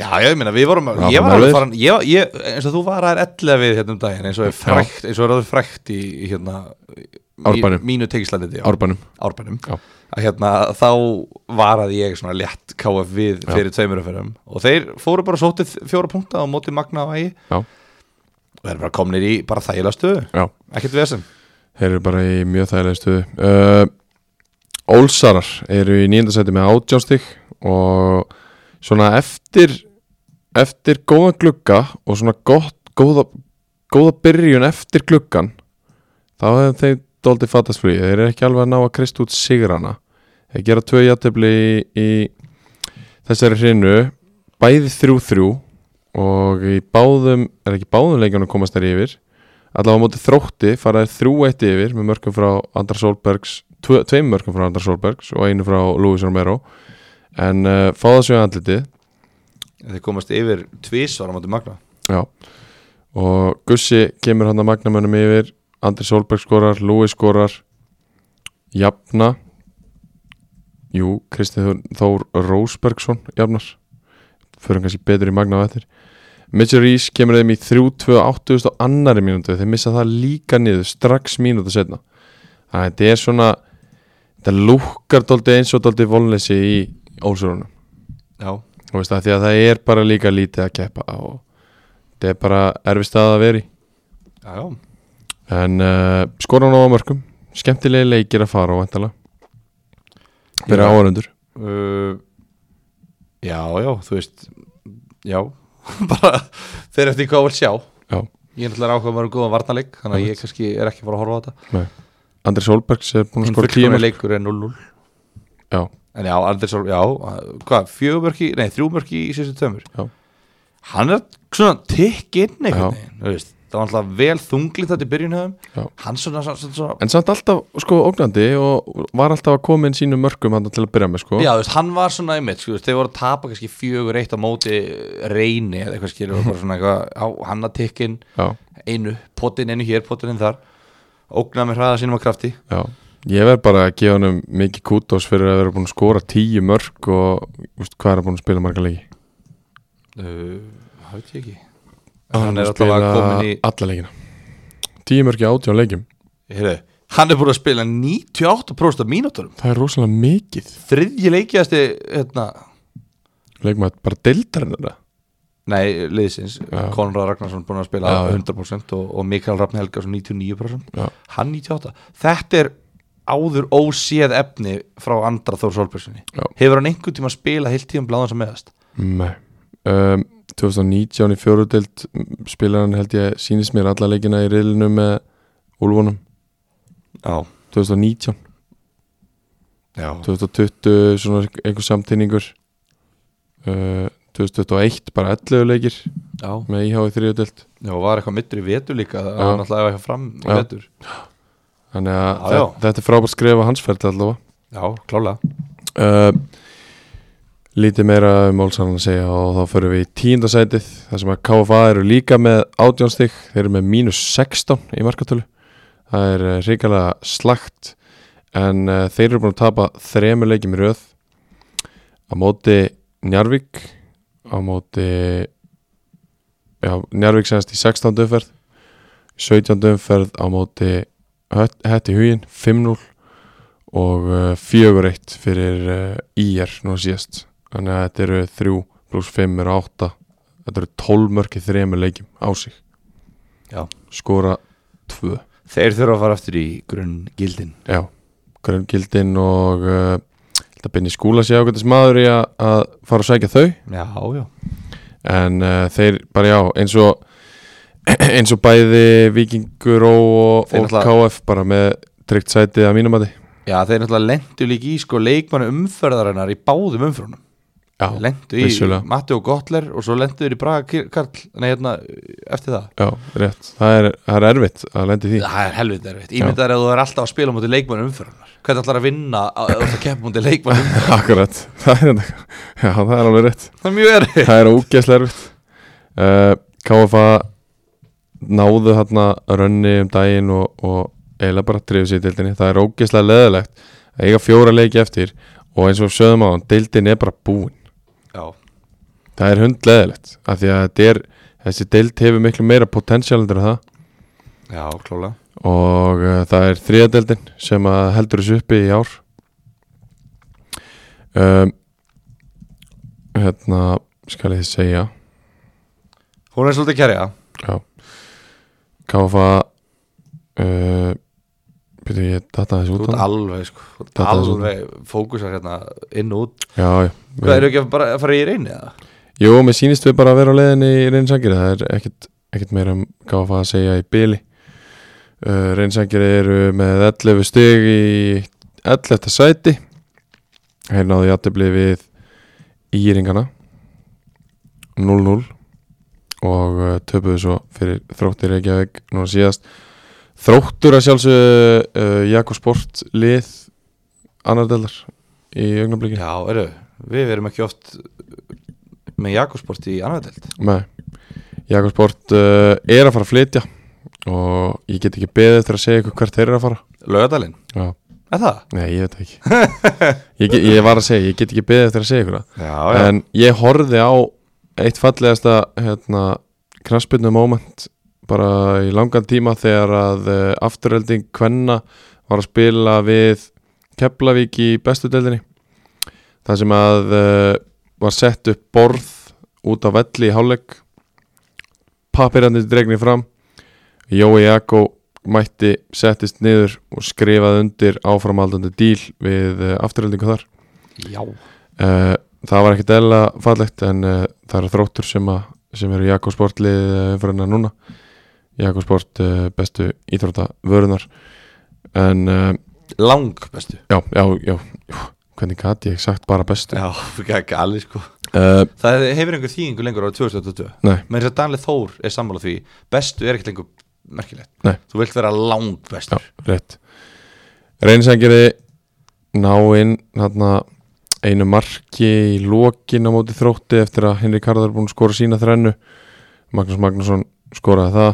Já, já, ég meina, við vorum,
Já,
ég var
maður
alveg
við.
farin, ég, ég, eins og þú var aðeins ella við hérna um daginn, eins og er frækt, eins og er alveg frækt í, í hérna, í
Árbænum.
mínu tegislandið,
Árbænum
árbænum,
Já.
að hérna, þá varaði ég svona létt KF við
Já.
fyrir tveimur umferðum og þeir fóru bara sótið fjóra punkta á móti Magna og Ægi
Já,
og þeir eru bara komnir í bara þægilega stöðu,
já
ekkert vesen.
Þeir eru bara í mjög þægilega stuðu uh, Ólsarar eru í nýjöndasæti með átjánstík og svona eftir eftir góðan glugga og svona gott, góða, góða byrjun eftir gluggan þá hefum þeir doldið fattast frí þeir eru ekki alveg að ná að krist út sigrana þeir gera tvö játtöfli í, í þessari hrinu bæði þrjú þrjú og í báðum, er ekki báðum leikjunum komast þeir yfir allavega á móti þrótti fara þeir þrjú eitt yfir með mörgum frá Andra Solbergs tve, tveim mörgum frá Andra Solbergs og einu frá Lúis Romero en uh, fá það sér andliti
Þeir komast yfir tvísvar á móti Magna.
já. og Gussi kemur hann að magnamönnum yfir Andri Solberg skorar, Lúis skorar jafna jú, Kristið Þór, Þór Rósbergsson jafnar förum kannski betur í magna á eftir Mitchell Rees kemur þeim í 3-2-8 á annari mínútu, þeir missa það líka niður strax mínútu setna þannig að þetta er svona þetta lúkkar dóldi eins og dóldi volnleysi í ólsörunum
Já,
þú veist það, því að það er bara líka lítið að keppa og þetta er bara erfi stað að vera í
já, já.
en uh, skoran á mörgum skemmtilegi leikir að fara á vantala fyrir
Já.
áhörundur
uh, Já, já, þú veist Já, bara Þeir eftir hvað þú vilt sjá
já,
Ég er náttúrulega ákveð að vera góðan varnarleik Þannig að ég kannski er ekki að fara að horfa á þetta
nei Andri Solbergs er búin að
En
skora tíma
fullkomni leikur er 0-0
já,
En já, Andersson, já, hvað, fjögur mörki, nei, þrjú mörki í síðustu tömur
Já.
Hann er svona tikk inn
Já.
einhvern veginn, þú veist Það var alltaf vel þunglið þetta í byrjunum
Já.
Hann svona, svona, svona, svona
en samt alltaf sko ógnandi og var alltaf að koma inn sínum mörgum hann til að byrja með sko
Já, þú veist, hann var svona einmitt, sko, þú veist, þeir voru að tapa kannski fjögur eitt á móti reyni eða eitthvað skilur, og bara svona eitthvað, á, hann að tikkin
já,
einu, potin einu hér, potin einu þar ógnaði með hraða sínum að krafti
já, Ég verð bara að gefa honum mikið kútos fyrir að vera búin að skora tíu mörg og úst, hvað er hann búin að spila marga leiki?
Uh, það veit ég ekki Hann er allavega komin í
alla leikina. Tíu mörg í átján leikum.
Heyrðu, Hann er búin að spila 98% af mínúturum
Það er rosalega mikið.
Þriðji leikiðasti hérna,
Leikmaður bara deildarinn þetta.
Nei, liðsins
Já.
Konrad Ragnarsson búin að spila
Já, já.
100% og, og Mikael Rafn Helgarsson 99%
Já.
Hann 98 Þetta er áður óséð efni frá andra Þór Solbjörnssoni
Já.
Hefur hann einhvern tíma spilað heilt tíðan bláðan sem meðast
Nei. Um, 2019 í fjórudelt spilaran held ég sýnist mér alla leikina í riðlinu með Úlfunum.
Já,
2019,
já
2020 svona einhver samtíningur uh, 2021 bara 11 leikir
Já,
með íhá í þriðudelt
já var eitthvað mittur í vetur líka Það
Já.
var náttúrulega eitthvað fram í
Já.
vetur
Þannig að
Já, já.
þe- þetta er frábært skref á hans ferð allavega
Já, klálega
uh, Lítið meira um Olsson að segja og þá förum við í tíundasætið þar sem að KFA eru líka með átjónstig þeir eru með mínus 16 í markatölu það er eh, hrikalega slagt en uh, þeir eru búin að tapa þremur leikjum í röð á móti Njarvík á móti já, Njarvík senast í 16. umferð 17. umferð á móti Hött- Hetti Hugin 5-0 og uh, 4-1 fyrir uh, IR nú síðast þannig að þetta eru 3 pluss 5 eru 8 þetta eru 12 mörki þremur leikjum á sig
Já.
skora 2
Þeir þurfa að fara aftur í grunn gildin
já, gröngildin og uh, þetta byrni skúla sé ákveðtis maður í að, að fara og sækja þau
Já, já
en uh, þeir bara já, eins og eins og bæði Vikingur og,
Þeir
og
náttúrulega-
KF bara með tryggt sætið að mínum að þið
Já, þeir náttúrulega lendu líka í sko leikmannu umferðarinnar í báðum umferðunum
já,
Lendu í
vissulega.
Matti og Gottler og svo lendu þeir í Braga Kir- Karl Nei, hérna, eftir það
já, rétt það er, það er erfitt að lendi því
Það er helvita erfitt, ímyndaður að þú er alltaf að spila mútið leikmannu umferðunar Hvernig ætlar að vinna að þú ert að keppa mútið leikmannu umferðunar
Akkurat, það er, já, það er alveg rétt
Það er mjög erfitt
Það er ógeðslega erfitt uh, KFA náðu hérna rönni um daginn og, og eiginlega bara trefið sér í deildinni Það er ógeðslega leðilegt að eiga fjóra leiki eftir og eins og við sögðum á hann, deildin er bara búin
Já,
Það er hundleðilegt af því að þetta er, þessi deild hefur miklu meira potential endur það
já, klálega
og uh, það er þriðadeldin sem að heldur þessu uppi í ár um, hérna skal ég segja
Hún er svolítið kærja
já KFA uh, byrju ég data þessu
Þú
út
ert
hann
alveg, sko, þú ert
Þetta er svolítið.
alveg fókusar hérna inn og út
já, já,
Hvað,
við,
eru ekki að bara að fara í reyni eða?
jú, mér sýnist við bara að vera á leiðinni í reynsangir það er ekkit, ekkit meira um KFA að segja í byli uh, reynsangir eru með 11 stig í 11. sæti Þeir náðu játtöfli við Íringana 0-0 og uh, töpuðu svo fyrir þróttir Reykjavík núna síðast þróttur að sjálfsögðu uh, Jakobsport lið annar delar í augnabliki
Já, eru, við erum ekki oft með Jakobsport í annar delt
Nei, Jakobsport uh, er að fara að flytja og ég get ekki beðið eftir að segja ykkur hvert þeir eru að fara
Laugardalinn,
Já.
er það?
Nei, ég veit það ekki ég, get, ég var að segja, ég get ekki beðið eftir að segja ykkur það
Já, já,
En ég horfði á eitt fallegasta hérna, knaspinu moment bara í langan tíma þegar að uh, afturölding Kvenna var að spila við Keflavík í bestu deildinni þar sem að uh, var sett upp borð út á velli í hálfleik papirandi dregnir fram Jói Jakko mætti settist niður og skrifaði undir áframaldandi díl við uh, afturöldingu þar
já.
Eh, það var ekkert eðla fallegt en uh, það eru þróttur sem, að, sem eru Jakobsportlið uh, umfyrirna núna Jakobsport uh, bestu íþrótta vörunar en uh,
Lang bestu
já, já, já, já hvernig gæti ég sagt bara bestu
Já, ekki ekki alveg sko
uh,
Það hefur einhver þýðingu lengur árið 2022
Nei.
Menn þess að Danlið Þór er sammála því Bestu er ekkert lengur merkilegt
Nei.
Þú vilt vera lang
já,
bestur
rétt reynsangeri ná inn þarna einu marki í lokin á móti þrótti eftir að Henrik Harðar er búinn að skora sína þrennu Magnús Magnússon skoraði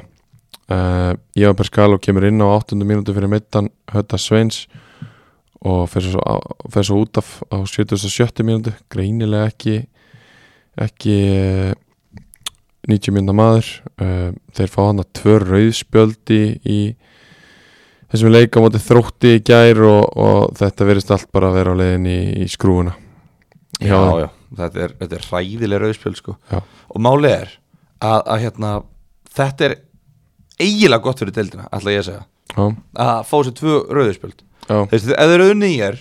Eh, það uh, Eva Perskaló kemur inn á 8. mínútu fyrir middan Hötta Sveins og fer svo, á- fer svo út af á 77. mínútu greinilega ekki ekki eh, 90 mínúta maður Eh, þeir fá hann að tvö rauðspjöldi í þessum leik á móti þrótti í gær og, og þetta verist allt bara að vera á leiðin í, í skrúuna
já, já, Þetta, er, þetta er hræðileg rauðspjöld sko.
Já.
og málið er að, að hérna, þetta er eiginlega gott fyrir deildina, ætla ég að segja
já,
að fá sér tvö rauðspjöld
já,
Þú veist, ef þeir eru unni í er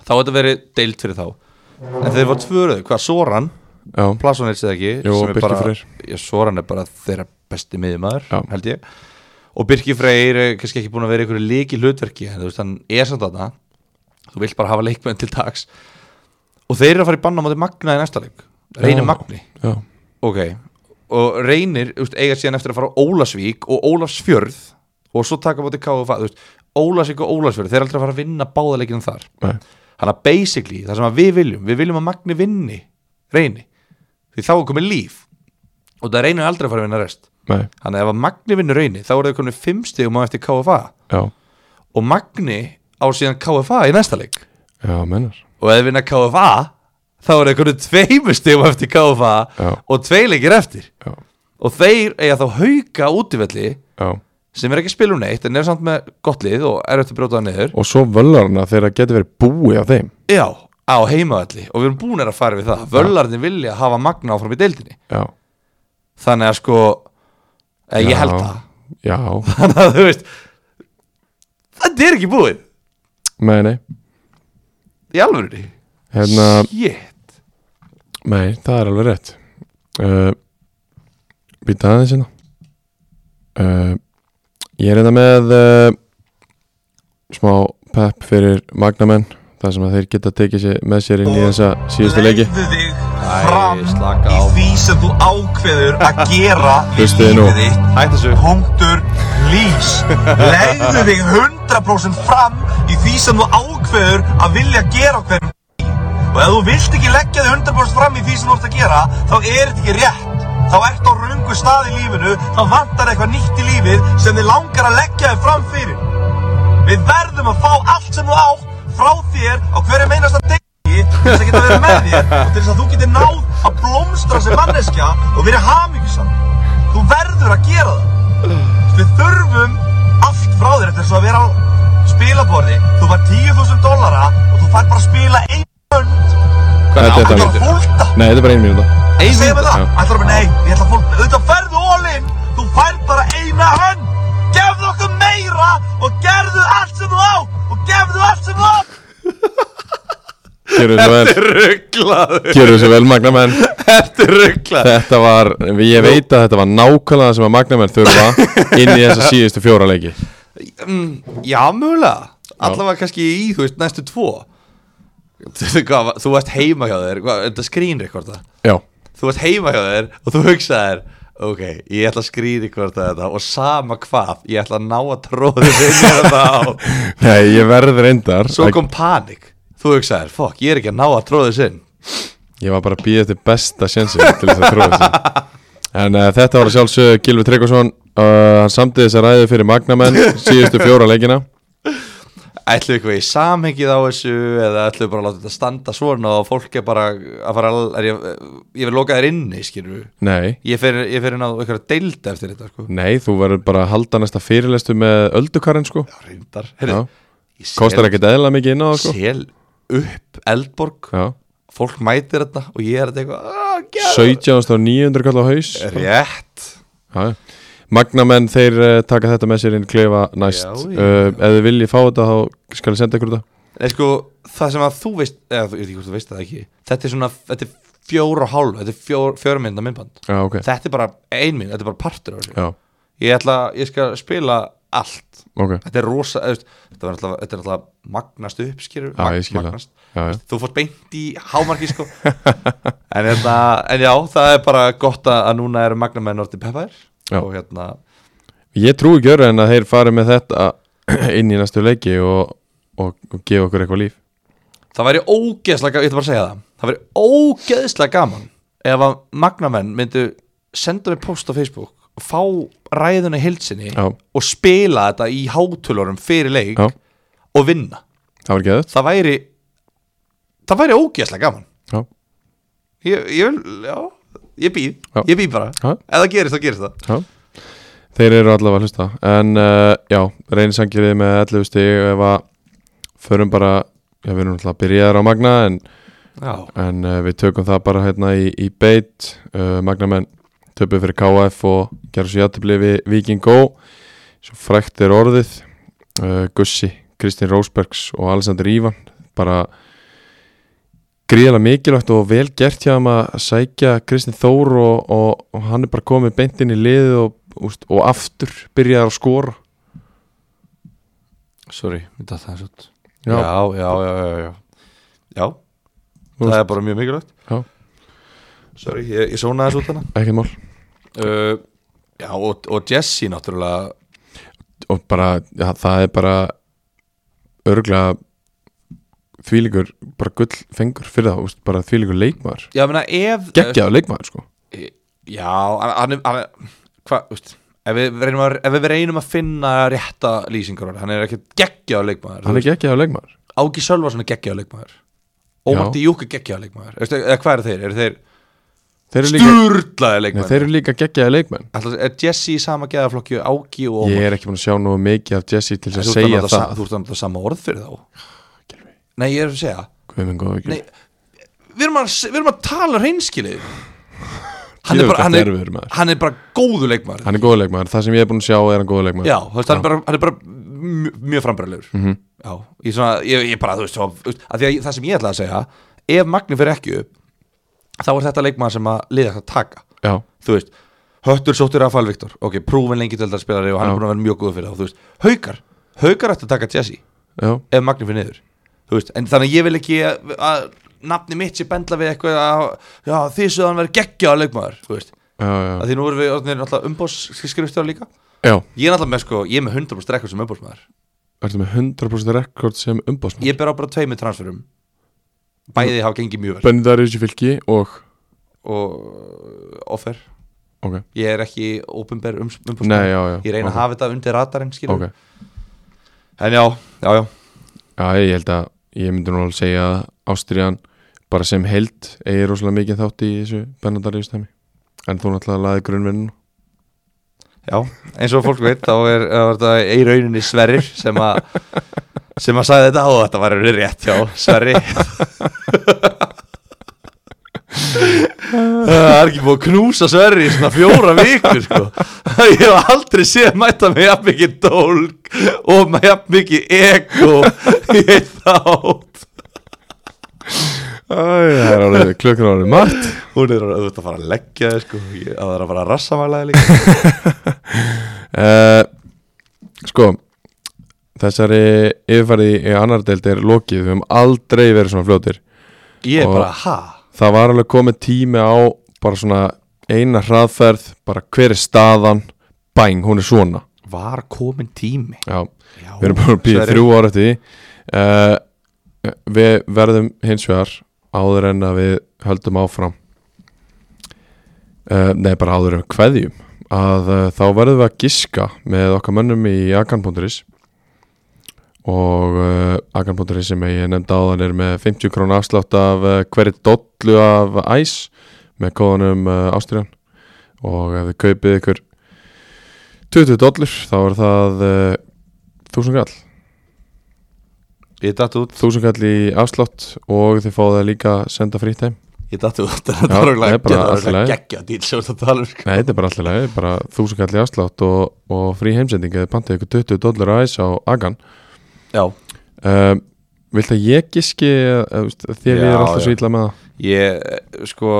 þá er þetta verið deild fyrir þá en þeir fá tvö rauð, hvað Soran
já,
Plasonets eða ekki
Jú,
sem er
Birkir
bara-
Freyr.
Já, Soran er bara þeirra besti miðjumæður
Já.
held ég og Birki Freyr er kannski ekki búin að vera einhverju líki hlutverki en þú veist hann er samt þarna þú vilt bara hafa leikmenn til dags og þeir eru að fara í banna á móti Magna í næsta leik reynir
Já.
Magni
já,
ok og reynir þú veist, eiga síðan eftir að fara á Ólafsvík og Ólafsfjörð og svo taka á móti KFA þú veist, Ólafsvík og Ólafsfjörð þeir eru aldrei að fara að vinna báðaleikinu þar
nei,
Þannig að basically það sem að við viljum Við viljum að Magni vinni Reyni Því þá er komið líf Og það reynir aldrei að fara að vinna rest
nei,
Þannig að ef að Magni vinnur reyni Þá eru þau komið fimm stigum á eftir KFA
já
Og Magni á síðan KFA í næsta leik
já, mennar,
Og ef þau vinna KFA Þá eru þau komið tveimur stigum á eftir KFA
Já.
Og tveileikir eftir
já,
Og þeir eiga þá hauka útivelli
já
Sem er ekki að spila um neitt En er samt með gott lið og er eftir að brjóta það niður
og svo völarna þegar það getur verið búið á þeim
Já, á heimavalli Og við erum búin að fara við það Völlarnir vilja hafa Magna áfram í deildinni
já,
þannig að sko eh, ég held
Já.
það
já,
þannig að þú veist þetta er ekki búið
nei, nei
í alvörunni
hérna,
shit
Nei, það er alveg rétt uh, Býta aðeins hérna uh, Ég er hérna með uh, smá pepp fyrir magnamenn þar sem að þeir geta tekið sér, með sér inn í þessa síðustu leiki
Legðu þig
Æ, slaka
í
á.
því sem þú ákveður að gera við
Hlustið nú.
lífið þitt.
hætt þessu
Punktur lýs Legðu þig 100% fram í því sem þú ákveður að vilja gera á hverjum degi. Og ef þú vilt ekki leggja þig 100% fram í því sem þú ert að gera þá er þetta ekki rétt Þá ert á röngu stað í lífinu þá vantar eitthvað nýtt í lífið sem þið langar að leggja þig fram fyrir Við verðum að fá allt sem þú átt frá þér á hverjum einasta degi til þess að geta verið með þér og til þess að þú getur náð að blómstra sem manneskja og verið hamingjusam Þú verður að gera það við þurfum allt frá þér þetta er svo að vera á spilaborði þú fær 10.000 dollara og þú fær bara að spila ein pund
Þetta er
Hvernig
ætlar
það.
að
ákvörðun?
fólta
Nei, þetta er bara ein mínúta
Ein
segja mig
mínúta.
það ætlar að bara nei ég ætla að fólta auðvitað ferðu ólinn þú fær bara eina hönd gefðu okkur meira og gerðu allt sem þú á og gefðu allt sem þú á
Gjörðu svo vel,
rugglaður
gjörðu svo vel magnamenn
þetta er rugglaður
Þetta var, ég veit að þetta var nákvæmlega það sem að magnamenn þurfa inn í þessa síðustu fjóra leiki
já mjögulega allavega kannski í þú veist næstu tvo Hvað, þú varst heima hjá þér hvað, þetta skrýn rekorda
Já,
þú varst heima hjá þér og þú hugsaðir ok, ég ætla að skrýði hvort þetta og sama hvað, ég ætla að ná að tróði þér þetta á
nei, ég verð reyndar
Svo
að-
kom panik Þú hugsaðir, fokk, ég er ekki að ná að tróða þess inn
Ég var bara að býja eftir besta sjensin til þess að tróða þessu En uh, þetta var að sjálfsögðu Gilvi Tryggvason uh, Hann samtið þess að ræði fyrir Magnamenn síðustu fjóra leikina
Ætlu eitthvað í samhengið á þessu Eða ætlu bara að láta þetta standa svona Og fólk er bara að fara að- er ég, ég vil loka þér inni, skilur
Nei,
Ég fer, ég fer inn á eitthvað deild eftir þetta sko.
nei, þú verður bara að halda næsta fyrirlestu með öldukarinn sko
Rindar
Já.
Heyrðu, ég sel-
Kostar ekkert eðla mikið inn á það sko
Sel upp Eldborg
Já,
Fólk mætir þetta og ég er þetta eitthvað "Ah, gerðu."
17 á 900 kall á haus
Rétt
Já, já. Magnamenn, þeir uh, taka þetta með sér inn klefa næst
Já, já.
Uh, Ef þið viljið fá þetta þá skal ég senda ykkur þetta
Nei sko, það sem að þú veist eða, þú- Ég veit ekki hvort þú veist það ekki Þetta er svona, þetta er fjóra og hálf Þetta er fjór, fjóra mynda myndband
Já, ok
þetta er bara ein minn, þetta er bara partur af þessu
Já,
ég ætla, ég skal spila allt
ok
þetta er rosa, eða, þú veist, þetta, var alltaf, þetta er alltaf magnast upp, skilur
Já, ég skil það
magnast.
Já, já.
þú fórst beint í hámarki sko. en, hérna, en já, það er bara gott að að núna eru magnamenn orðið peppaðir
Já.
og hérna,
Ég trúi ekki öru en að þeir fari með þetta inn í næstu leiki og, og, og gefa okkur eitthvað líf
það væri ógeðslega gaman, ég ætla bara að segja það það væri ógeðslega gaman ef að magnamenn myndu senda mér post á Facebook og fá ræðuna í heilsinni
Já.
og spila þetta í hátölurum fyrir leik
Já.
og vinna
það var geðið
það væri það væri ógeðslega gaman
Já,
ég, ég vil, já, ég býð
Já.
ég býð bara,
Já.
ef það gerist þá gerist það
já Þeir eru allavega að hlusta En uh, já, reynisangirðið með 11 stig Ef að förum bara Já, við erum alltaf byrjaðar á Magna En,
já,
en uh, við tökum það bara hérna í, í beit uh, Magna menn töpuð fyrir KF Og gerðu svo játtifli við Viking Go Svo frækt er orðið uh, Gussi, Kristín Rósbergs Og Alexander Ívan Bara gríðarlega mikilvægt og vel gert hjá hann að sækja Kristinn Þór og, og, og hann er bara komið beint inn í liðið og, úst, og aftur byrjaði að skora
sorry, þetta það er svolít
Já.
já, já, já, já, já já, það er bara mjög mikilvægt
Já.
sorry, ég, ég sónaði þessu út hana
ekkert mál
uh, já, og, og Jesse náttúrulega
og bara, ja, það er bara örgulega þvílíkur, bara gull fengur fyrir það, úst, bara þvílíkur leikmaður
já, ég meina, ef uh,
geggjaður leikmaður sko
Já, hann- hann er- hann er Hvað, þú veist Ef við, reynum að, ef við reynum að finna rétta lýsingar á honum, hann er ekkert geggjaður leikmaður
hann er geggjaður leikmaður
Ági Sölvarsson er geggjaður leikmaður Ómandi Júk er geggjaður leikmaður Ertu- eða hvað eru þeir, eru þeir
þeir eru líka,
sturlaði
nei, þeir
leikmaður
eru líka geggjaður leikmenn
Ætla, er Jesse í sama geðaflokki og Ági og Ómar
ég er ekki búin að sjá nú mikið af Jesse til
Oh
þess
Þú ert
að segja
náttúrulega sa-
það
þú ert náttúrulega sama orð fyrir þá nei ég er að segja
Guð minn góður,
nei,
Gylfi.
við, erum að, við erum að tala reynskilið hann
Djöfull,
er bara, hann
þetta
er,
erfiður maður.
hann er bara góðu leikmaður
hann er góður leikmaður, það sem ég er búin að sjá er Mhm. hann góður leikmaður
Já, þú veist, hann er bara, hann er bara mj- mjög frambærilegur -hmm. Já, ég, svona, ég, ég bara, þú veist, svo, þú veist að að ég, það sem ég ætlaði að segja Ef Magni fyrir ekki upp Þá er þetta leikmaður sem að liða þetta taka
já,
Þú veist, Höttur sóttur Rafael Viktor Ok, prúfin lengi til þetta spilari og hann
Já.
er búin að vera mjög góð fyrir það og Þú veist, Haukar, Haukar ætti að taka Jesse
já,
Ef Magni fyrir niður Þú veist, en þannig að ég vil ekki að, að Nafni mitt sé bendla við eitthvað að, Já, því svo hann verið geggja leikmaðar Þú veist,
já, já,
að því nú erum við orðnir náttúrulega umbóðsskrifstjóra líka
já.
Ég er náttúrulega með sko, ég er með 100% rekord sem umbóðsmaður
Ertu með 100% rekord sem umbásmann?
Ég ber á bara tveimur transferum Bæði hafa gengið mjög vel
Bendar í fylki og
Og offer
Ok,
Ég er ekki ópenber umbóðsmaður
nei, já, já
Ég reyna
ok,
að hafa þetta undir radarinn skilur
Ok,
En já, já, já
já, ég held að ég myndi nú alveg segja að Ástriðan bara sem held eigi rosalega mikið þátt í þessu Bendar í stæmi En þú náttúrulega laði grunnvinnu
Já, eins og fólk veit þá er, er þetta í rauninni Sverrir sem að sem að sagði þetta og þetta var í rauninni rétt hjá Sverri Það er ekki búið að knúsa Sverri í svona fjóra vikur sko. Ég hef aldrei séð mæta með jafn mikið dólg og með jafn mikið ego í einn þátt
Það er alveg klukkan árið margt
Hún er að þetta fara að leggja þig, sko. Ég- það er að fara að rassamælaði líka
uh, Sko Þessari yfirfæri í annar deild er lokið Við höfum aldrei verið svona fljótir
Ég er
Og-
bara, ha?
það var alveg komið tími á bara svona eina hraðferð bara hver er staðan bæng, hún er svona
Var komin tími?
já,
Já,
við erum bara að býja
Sverrir.
þrjú ára eftir því uh, við verðum hins vegar áður en að við höldum áfram uh, nei, bara áður en við kveðjum að uh, þá verðum við að giska með okkar mönnum í akan.is og uh, akan.is sem ég nefndi áðan er með 50 krónu afslátt af uh, hverju dollu af æs með kóðanum uh, Ástriðan og ef þið kaupið ykkur 20 dollur þá er það uh, 1000 kall
Ég datt út
1000 kall í afslátt og þið fáið það líka að senda frítt heim
Ég dætti út að þetta
Já,
var
nei, bara allt í
örugglega
lagi.
geggja dýl sem þetta tala um sko.
Nei, þetta er bara alltaf leið, bara 1000 kall í afslátt og, og frí heimsending eða pantið ykkur 20 dollar aðeins á agan
Já,
um, Vilt að ég giski eh, þú veist, þér ég
Já,
er alltaf
já.
svo illa með það
ég eh, sko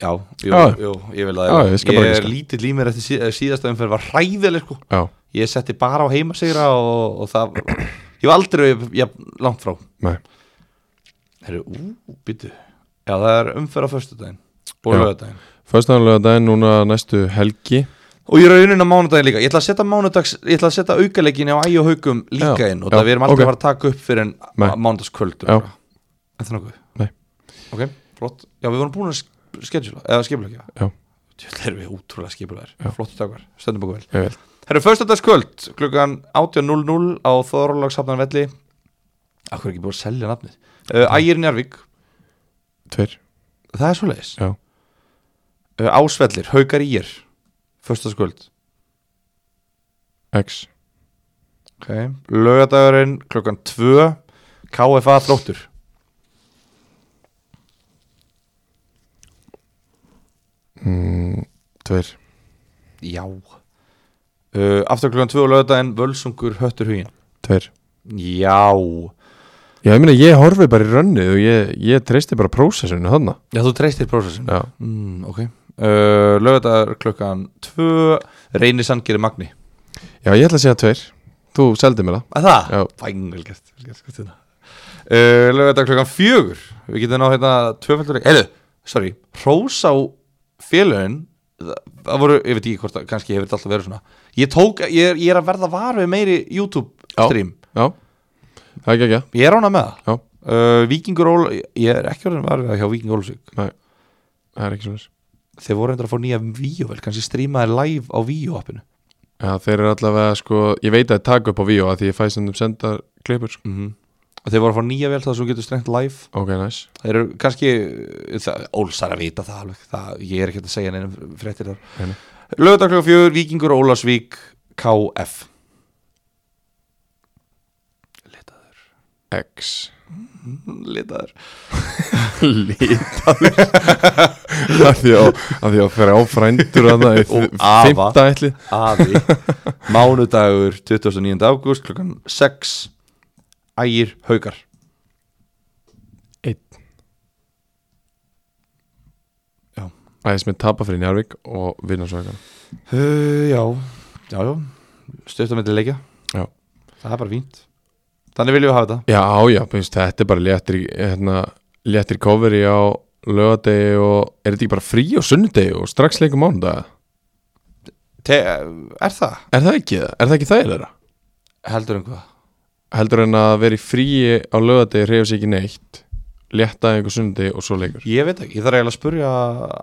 Já, jú,
Já.
jú, ég vil
Já,
að
ég skal
Ég
bara
er
giska.
lítill í mér eftir síð, síðasta umferð var hræðileg sko
Já,
Ég setti bara á heimasigra og, og það Ég var aldrei ég, ég, langt frá
nei,
Herru, ú, býtu Já, það er umferð á föstudaginn og
Já.
lögadaginn
föstanlega daginn núna næstu helgi
Og ég er raunin á mánudaginn líka Ég ætla að setja mánudags, ég ætla að setja aukaleikin á æg og haugum líka
Já,
inn og
já,
það við erum aldrei
ok.
að fara að taka upp fyrir en
Nei.
mánudagskvöld
Já.
Þetta er nokkuð
Nei,
Ok, flott Já, við vorum búin að sk- skedjula Eða skipulegja
Já.
Þetta er við útrúlega skipulegar Flott takvar Stöndum okkur vel
ég vil
Herru, föstudagskvöld Klukkan 18.00 á Þorlóksafnan velli Akkur er ekki búið að selja nafnið uh, Ægir Njarvík,
Tveir
það er svo leiðis
Já.
uh, Ásvellir, Haukar Ígir Föstaskvöld
X
okay. Lögadagurinn klokkan 2 KFA þróttur
mm, Tveir
Já uh, Aftur klokkan 2 á lögadaginn Völsungur höttur hugin
Tveir
Já
Já, ég meina, ég horfi bara í rönnið og ég, ég treysti bara prósessinu þarna
Já, þú treystir prósessin
Já
mm, Ok uh, Lögadagur klokkan 2 Reynir Sandgeri Magni
Já, ég ætla að segja tveir Þú seldi mér það
Að það?
Já.
Fæn, vel gert, sko, vel gert skutina uh, Lögadagur klokkan 4 Við getum ná hérna tvöfaldur Heiðu, sorry Hrós á félögin það, það voru, ég veit ekki hvort það Kannski hefur þetta alltaf verið svona Ég tók, ég er, ég er að verða var við meiri YouTube
Já.
stream
Já Það er ekki ekki
Ég er ána með það
Já.
uh, Víkingur Ól Ég er ekki orðin var við það hjá Víkingur Ólfsvík
Það er ekki svona
Þeir voru endur að fá nýja víóvel Kannski streamaði live á víóappinu
Já, þeir eru allavega sko Ég veit að það taka upp á víó að því ég fæ sem sendar klippur sko.
mm og þeir voru að fá nýja vel það sem þú getur strengt live
Ok, næs
þeir eru kannski það, ólsar að vita það alveg það, ég er ekki að segja neinum fréttir þar
Nei,
lögðarklokka fjögur, Víkingur Ólafsvík KF litaður
X
litaður
Af því að af því að fyrir áfrændur að það er
Og afa.
Fymta ætli
aði mánudagur 29. ágúst klokkan 6 ægir haugar
Einn
Já.
Æðis með tapa fyrir Njarvík og vinna svo ekki
uh, já, já, já stöðt á milli leikja
Já.
það er bara fínt þannig viljum við hafa þetta
Já, já, þú veist, þetta er bara léttir hérna, léttir coveri á lögadegi og er þetta ekki bara frí á sunnudegi og strax leikum mánudag
Te er það?
Er það ekki það? Er það ekki þægilega?
heldur um einhvað
Heldur en að vera í fríi á lögadegi reyfa sér ekki neitt létta einhver sunnudegi og svo leikur
Ég veit ekki, ég þarf eiginlega að spurja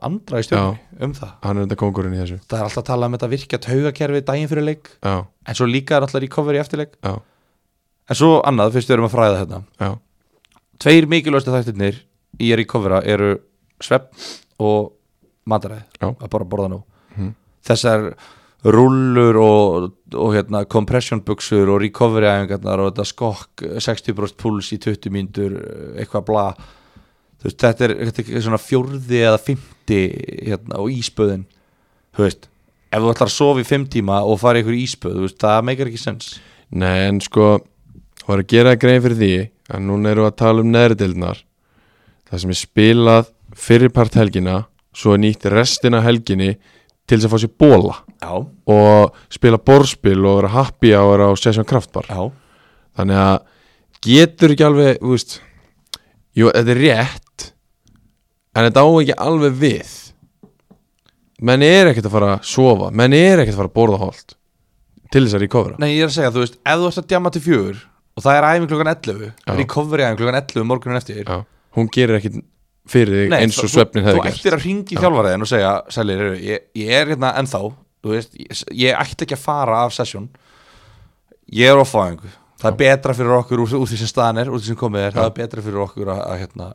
andra í stjórnum um það
Hann er þetta kongurinn í þessu
Það er alltaf að tala um þetta virkja taugakerfi daginn fyrir leik
Já,
En svo líka er alltaf recovery eftir leik
já,
En svo annað, fyrst við erum að fræða hérna. þetta
já
Tveir mikilvægstu þættirnir í að recovera eru svepp og mataræði
Já.
Að bara borða nú
Mhm.
Þessar rullur og, og hérna, compression buksur og recovery æfingarnar og þetta skokk 60% puls í 20 mínútur eitthvað bla þú veist, þetta er, þetta er svona fjórði eða fymti hérna á íspöðin þú veist, ef þú ætlar að sofa í fimm tíma og fara í ykkur íspöð, þú veist, það meikar ekki sens
Nei, en sko Það var að gera grein fyrir því að núna eru að tala um neðridildnar Það sem er spilað fyrirpart helgina Svo er nýtt restina helginni Til þess að fá sér bóla
Já,
Og spila borðspil og vera happy hour á Session Kraftbar
já,
Þannig að getur ekki alveg þú veist, Jú, þetta er rétt En þetta á ekki alveg við Menn er ekkert að fara að sofa Menn er ekkert að fara að borða holt Til þess að recovera
nei ég er að segja, þú veist ef þú ert að djama til fjögur og það er æfing klokkan 11
Já.
recovery æfing klokkan 11 morgunin eftir
Já, hún gerir ekkit fyrir þig
Nei,
eins og
þú-
svefnin hefði
Þú
gert
ættir að ringi í þjálfaraðin og segja Sælir, heyrðu, ég, ég er hérna ennþá þú veist, ég, ég ætti ekki að fara af sesjón Ég er offáðingu Það er betra fyrir okkur úr, úr því sem staðan er úr því sem komið er, það er betra fyrir okkur að, að hérna,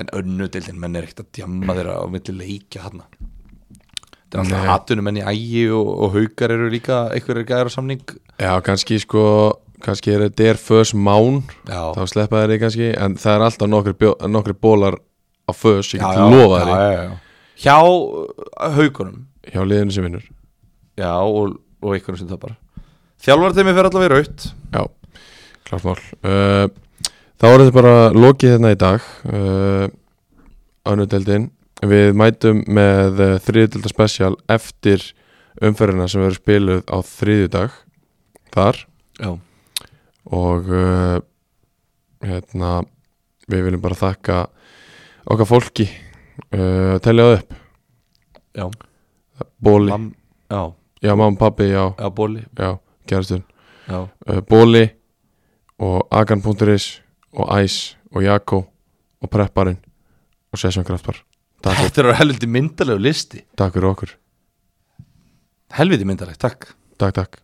en önnudildin menn er ekkert að djamma þeirra á milli leikja hérna Þetta er alltaf
Nei.
hatunum menn í ægi og, og haukar eru líka einhverjir gæður á samning
Já, kannski sko, kannski er þetta er fös mán
Já,
þá sleppa þeir þig kannski en það er alltaf nokkri, bjó, nokkri bólar á fös, ég
já,
get
já,
lofa
já,
þeir
já, já. Hjá uh, haukunum
hjá liðinu sem vinnur
Já, og, og einhvern sem tapar Þjálfarteimi fer allavega í raut
Já, klart mál uh, Þá er þetta bara lokið hérna í dag uh, Önnudeldin Við mætum með uh, þriðudelda spesial eftir umferðina sem verður spiluð á þriðjudag þar
Já,
og uh, hérna við viljum bara þakka okkar fólki uh, telja það upp
já,
Bóli,
Mam, já,
já mamma, pappi, já,
já, bóli
já, gerastun
já.
uh, Bóli og Agan.is og Æs og Jakko og Prepparinn og Sessjón Kraftbar Takk fyrir,
Þetta er helviti myndalegu listi
takk fyrir okkur,
Helviti myndaleg, takk
takk, takk